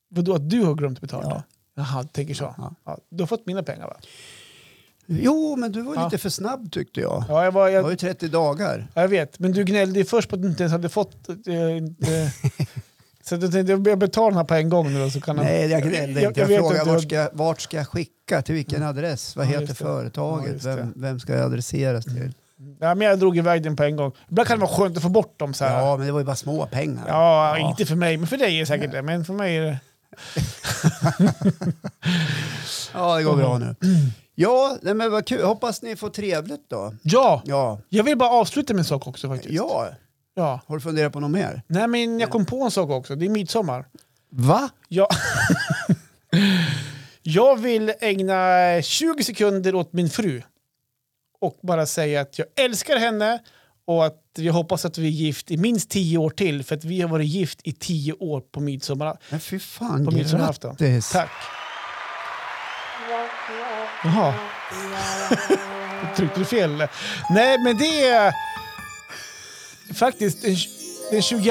Vadå, att du har glömt betala?
Ja.
Jaha, du tänker så.
Ja.
Ja, du har fått mina pengar va?
Jo men du var
Ja.
lite för snabb tyckte jag.
Ja, jag, var,
Det var
jag,
ju 30 dagar.
jag vet. Men du gnällde ju först på att du inte ens hade fått... Eh, inte, så att jag tänkte, jag betalar den här på en gång nu då, så kan han-
Nej, jag gnällde
Jag-
inte.
jag
Jag,
vet
frågade
inte
vart
vad-
ska, jag- vart ska jag skicka, till vilken adress, vad
Ja,
heter
just det. Ja,
företaget,
just det.
vem, vem ska jag adresseras till?
Ja, men jag drog iväg den på en gång. Ibland kan det vara skönt att få bort dem så här.
Ja, men det var ju bara små pengar.
Ja,
Ja.
inte för mig, men för dig är det säkert det. Men för mig är det...
Ja, det går bra
Mm.
nu. Ja, nej, men vad kul. Hoppas ni får trevligt då.
Ja,
Ja.
jag vill bara avsluta med en sak också faktiskt.
ja,
ja.
har du funderat på något mer?
Nej, men jag kom på en sak också. Det är midsommar.
Va?
Ja. jag vill ägna 20 sekunder åt min fru och bara säga att jag älskar henne och att jag hoppas att vi är gift i minst tio år till för att vi har varit gift i tio år på midsommar,
Men fy fan,
på midsommarafton.
grattis!
Tack. Jaha. Tryckte du fel eller? Nej, men det är faktiskt den tj- den 22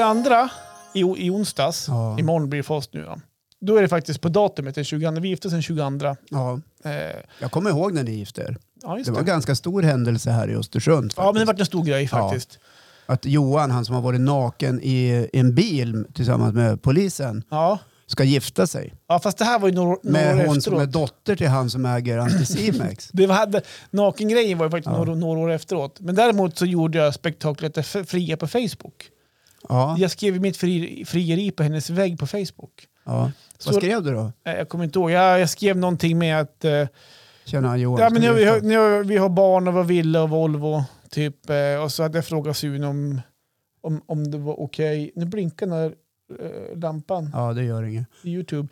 i, o- i onsdags.
Ja.
Imorgon blir det för oss nu då. Då är det faktiskt på datumet den 22. Vi gifte oss den 22.
Ja,
Eh,
jag kommer ihåg när ni gifte er.
ja,
Det
just
var
det.
en ganska stor händelse här i Östersund.
Ja, men det
faktiskt.
var en stor grej faktiskt.
Att Johan, han som har varit naken i en bil tillsammans med polisen,
Ja.
ska gifta sig
ja, fast det här var ju några, några
med
år
hon som är
efteråt.
dotter till han som äger Anticimex.
Det var- hade, nakengrejen var ju faktiskt
Ja.
några, några år efteråt. Men däremot så gjorde jag spektaklet F- Fria på Facebook.
Ja,
Jag skrev mitt fri, frieri på hennes vägg på Facebook.
ja.
Så-
Vad skrev du då?
Eh, Jag kommer inte ihåg. Jag, jag skrev någonting med att eh,
Tjena Johan.
ja, men
ska
nu,
du
vi, har,
gifta dig?
nu, har- vi har barn och vi har villa och Volvo. Typ, eh, och så hade jag frågat Sune om, om, om det var okej. Nu blinkar den här eh, lampan
Ja, det gör inget.
i YouTube.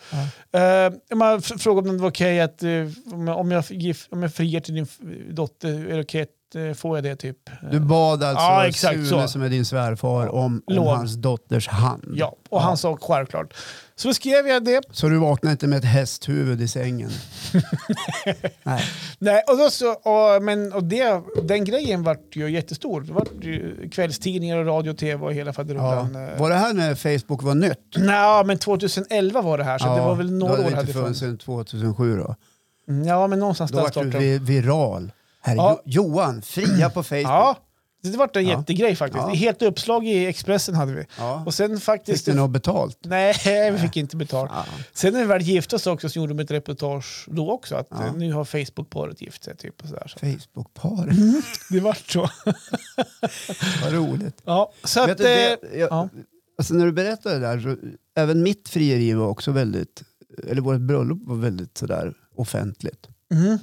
Ja.
Eh, man f- frågade om det var okej att eh, om jag- om jag, gif, om jag friar till din f- dotter, är det okej att eh, får jag det typ? Eh,
Du bad alltså
Ja, exakt
Sune
så.
som är din svärfar om, om
Lån.
hans dotters hand.
Ja, och han sa självklart. Så skrev jag det.
Så du vaknade inte med ett hästhuvud i sängen? Nej.
Nej, och då så, och, men, och det, den grejen vart ju jättestor. Det vart ju kvällstidningar och radio och tv och hela
Ja.
faderullan. Ja.
Var det här när Facebook var nytt?
Nej, men 2011 var det här, så det var väl
då
några
hade
år
det
hade
inte funnits sedan 2007 då.
Mm, Ja, men någonstans
Då
där
var du
startade de.
vi- viral. Herre,
Ja.
Jo- Johan, fria på Facebook.
Ja, det vart en
Ja.
jättegrej faktiskt.
Ja.
Helt uppslag i Expressen hade vi.
Ja.
Och sen
Fick
faktiskt...
du något betalt?
Nej, vi fick inte betalt.
Ja.
Sen när vi väl gifte oss också så gjorde de ett reportage då också. Att
Ja.
eh, nu har Facebook-paret gift sig. Typ, och sådär. Så
Facebookpar,
det vart så.
vad roligt.
Ja, så att,
Vet du, det,
eh,
jag,
ja.
alltså när du berättade det där, så, även mitt frieri var också väldigt, eller vårt bröllop var väldigt sådär offentligt.
Mhm.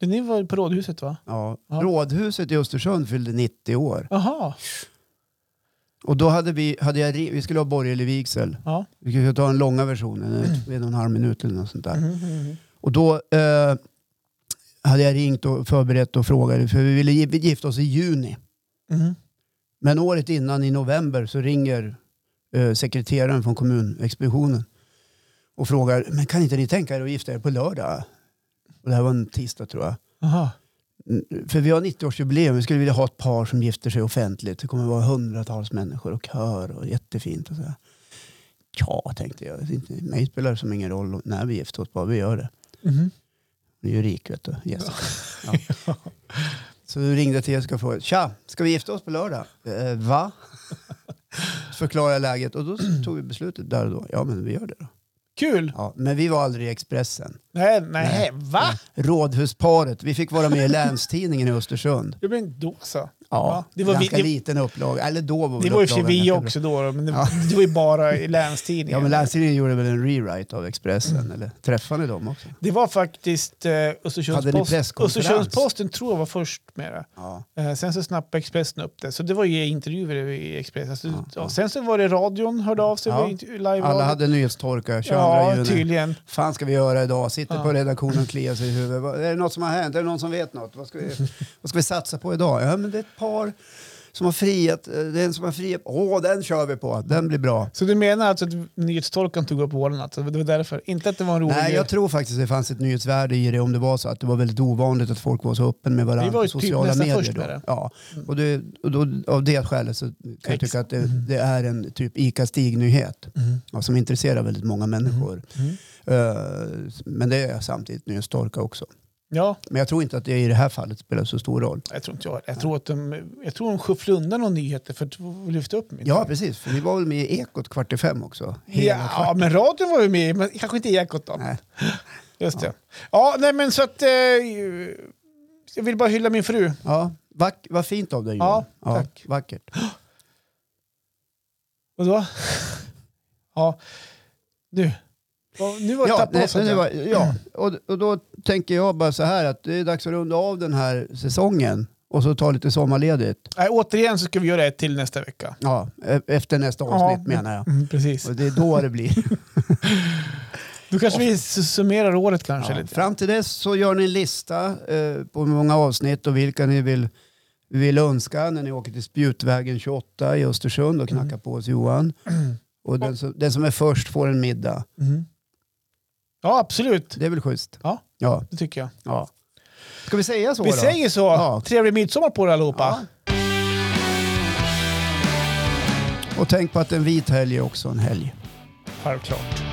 Det Ni var på Rådhuset va?
Ja.
Ja.
Rådhuset i Östersund fyllde 90 år.
Jaha.
Och då hade vi, hade jag, re- vi skulle ha borgerlig vigsel.
Ja.
Vi skulle ta den långa versionen,
Mm.
en- en och en halv minut eller något sånt där.
Mhm, mhm.
Och då eh, hade jag ringt och förberett och frågat, för vi ville gi- vi gifta oss i juni.
Mhm.
Men året innan i november så ringer eh, sekreteraren från kommunexpeditionen och frågar, men kan inte ni tänka er att gifta er på lördag? Och det här var en tisdag tror jag.
Jaha.
Mm, För vi har 90-årsjubileum, vi skulle vilja ha ett par som gifter sig offentligt. Det kommer att vara hundratals människor och kör och jättefint. Och så här. Ja, tänkte jag, det är inte- mig spelar det som ingen roll när vi gifter oss, bara vi gör det. Mm-hmm.
Mhm.
Hon är ju rik vet du, Jessica. Ja. Så du ringde till Jessica och frågade, tja, ska vi gifta oss på lördag? Eh, va? Förklara läget och då tog vi beslutet där och då. Ja men vi gör det då.
Kul.
Ja, men vi var aldrig i Expressen.
Nej, nej, va?
Rådhusparet, vi fick vara med i Länstidningen i Östersund.
Ja, men då så.
Ja,
det var vi-
ganska
det-
liten upplaga. Eller då var
Det
väl
var ju för sig
upplagan
vi
ganska bra.
också då, då, men det,
Ja.
det var ju bara i länstidningen.
Ja men Länstidningen gjorde väl en rewrite av Expressen eller träffade de också?
Det var faktiskt eh,
Hade ni
Östersundspost-
presskonferens?
Östersundsposten tror jag var först med det.
Ja.
Eh, sen så snappade Expressen upp det. Så det var ju intervjuer i Expressen. Alltså,
Ja,
ja. Sen så var det radion hörde av sig.
Ja.
Ja. Live
Alla hade nyhetstorka 22
Ja,
juni.
tydligen.
fan ska vi göra idag? Sitter
Ja.
på redaktionen och kliar sig i huvudet. Vad- Är det något som har hänt? Är det någon som vet något? Vad ska vi, vad ska vi satsa på idag? Ja, men det är ett par som har friat. eh, Det är en som har friat. Åh, den kör vi på. Den blir bra.
Så du menar alltså att nyhetstorkan tog upp våren? Alltså, det var därför? Inte att det var en rolig
Nej,
grej.
jag tror faktiskt det fanns ett nyhetsvärde i det om det var så att det var väldigt ovanligt att folk var så öppen med varandra
Vi var ju
på
typ
sociala
nästan
medier.
först
då.
med det.
Ja. Och, det, och då, av det skälet så kan jag
Ex-
tycka att det, det är en typ ICA Stig-nyhet
Mm.
ja, som intresserar väldigt många människor.
Mm.
Eh, men det är samtidigt nyhetstorka också.
Ja,
Men jag tror inte att det i det här fallet spelar så stor roll.
jag tror inte jag. Jag tror att de, jag tror de skyfflade undan några nyheter för att lyfta upp mig.
Ja, precis. För ni var väl med i Ekot kvart i fem också? Hela
Ja,
kvart.
men radion var ju med, men kanske inte i Ekot då.
Nej.
Just det. Ja, nej men så att... Eh, jag vill bara hylla min fru.
Ja, vack, vad fint av dig Johan.
Ja, tack.
vackert.
Och då? ja. Nu. Ja, Nu var det
Ja,
tappat
nej,
oss.
men det
Adrian.
var, ja. Och, och då tänker jag bara så här att det är dags att runda av den här säsongen och så ta lite sommarledigt.
Nej, återigen så ska vi göra ett till nästa vecka.
Ja, e- efter nästa avsnitt
Ja.
menar jag.
Mm, precis.
Och det är då det blir.
Då kanske vi s- summerar året kanske
Ja,
lite.
fram till dess så gör ni en lista eh, på hur många avsnitt och vilka ni vill, vill önska när ni åker till Spjutvägen 28 i Östersund och knackar på hos Johan. Och den som, den som är först får en middag.
Mm. Ja, absolut.
Det är väl schysst?
Ja.
ja.
Det tycker jag.
ja. Ska vi säga så
Vi
då?
säger så.
Ja.
Trevlig midsommar på er allihopa.
Och tänk på att en vit helg är också en helg.
Självklart.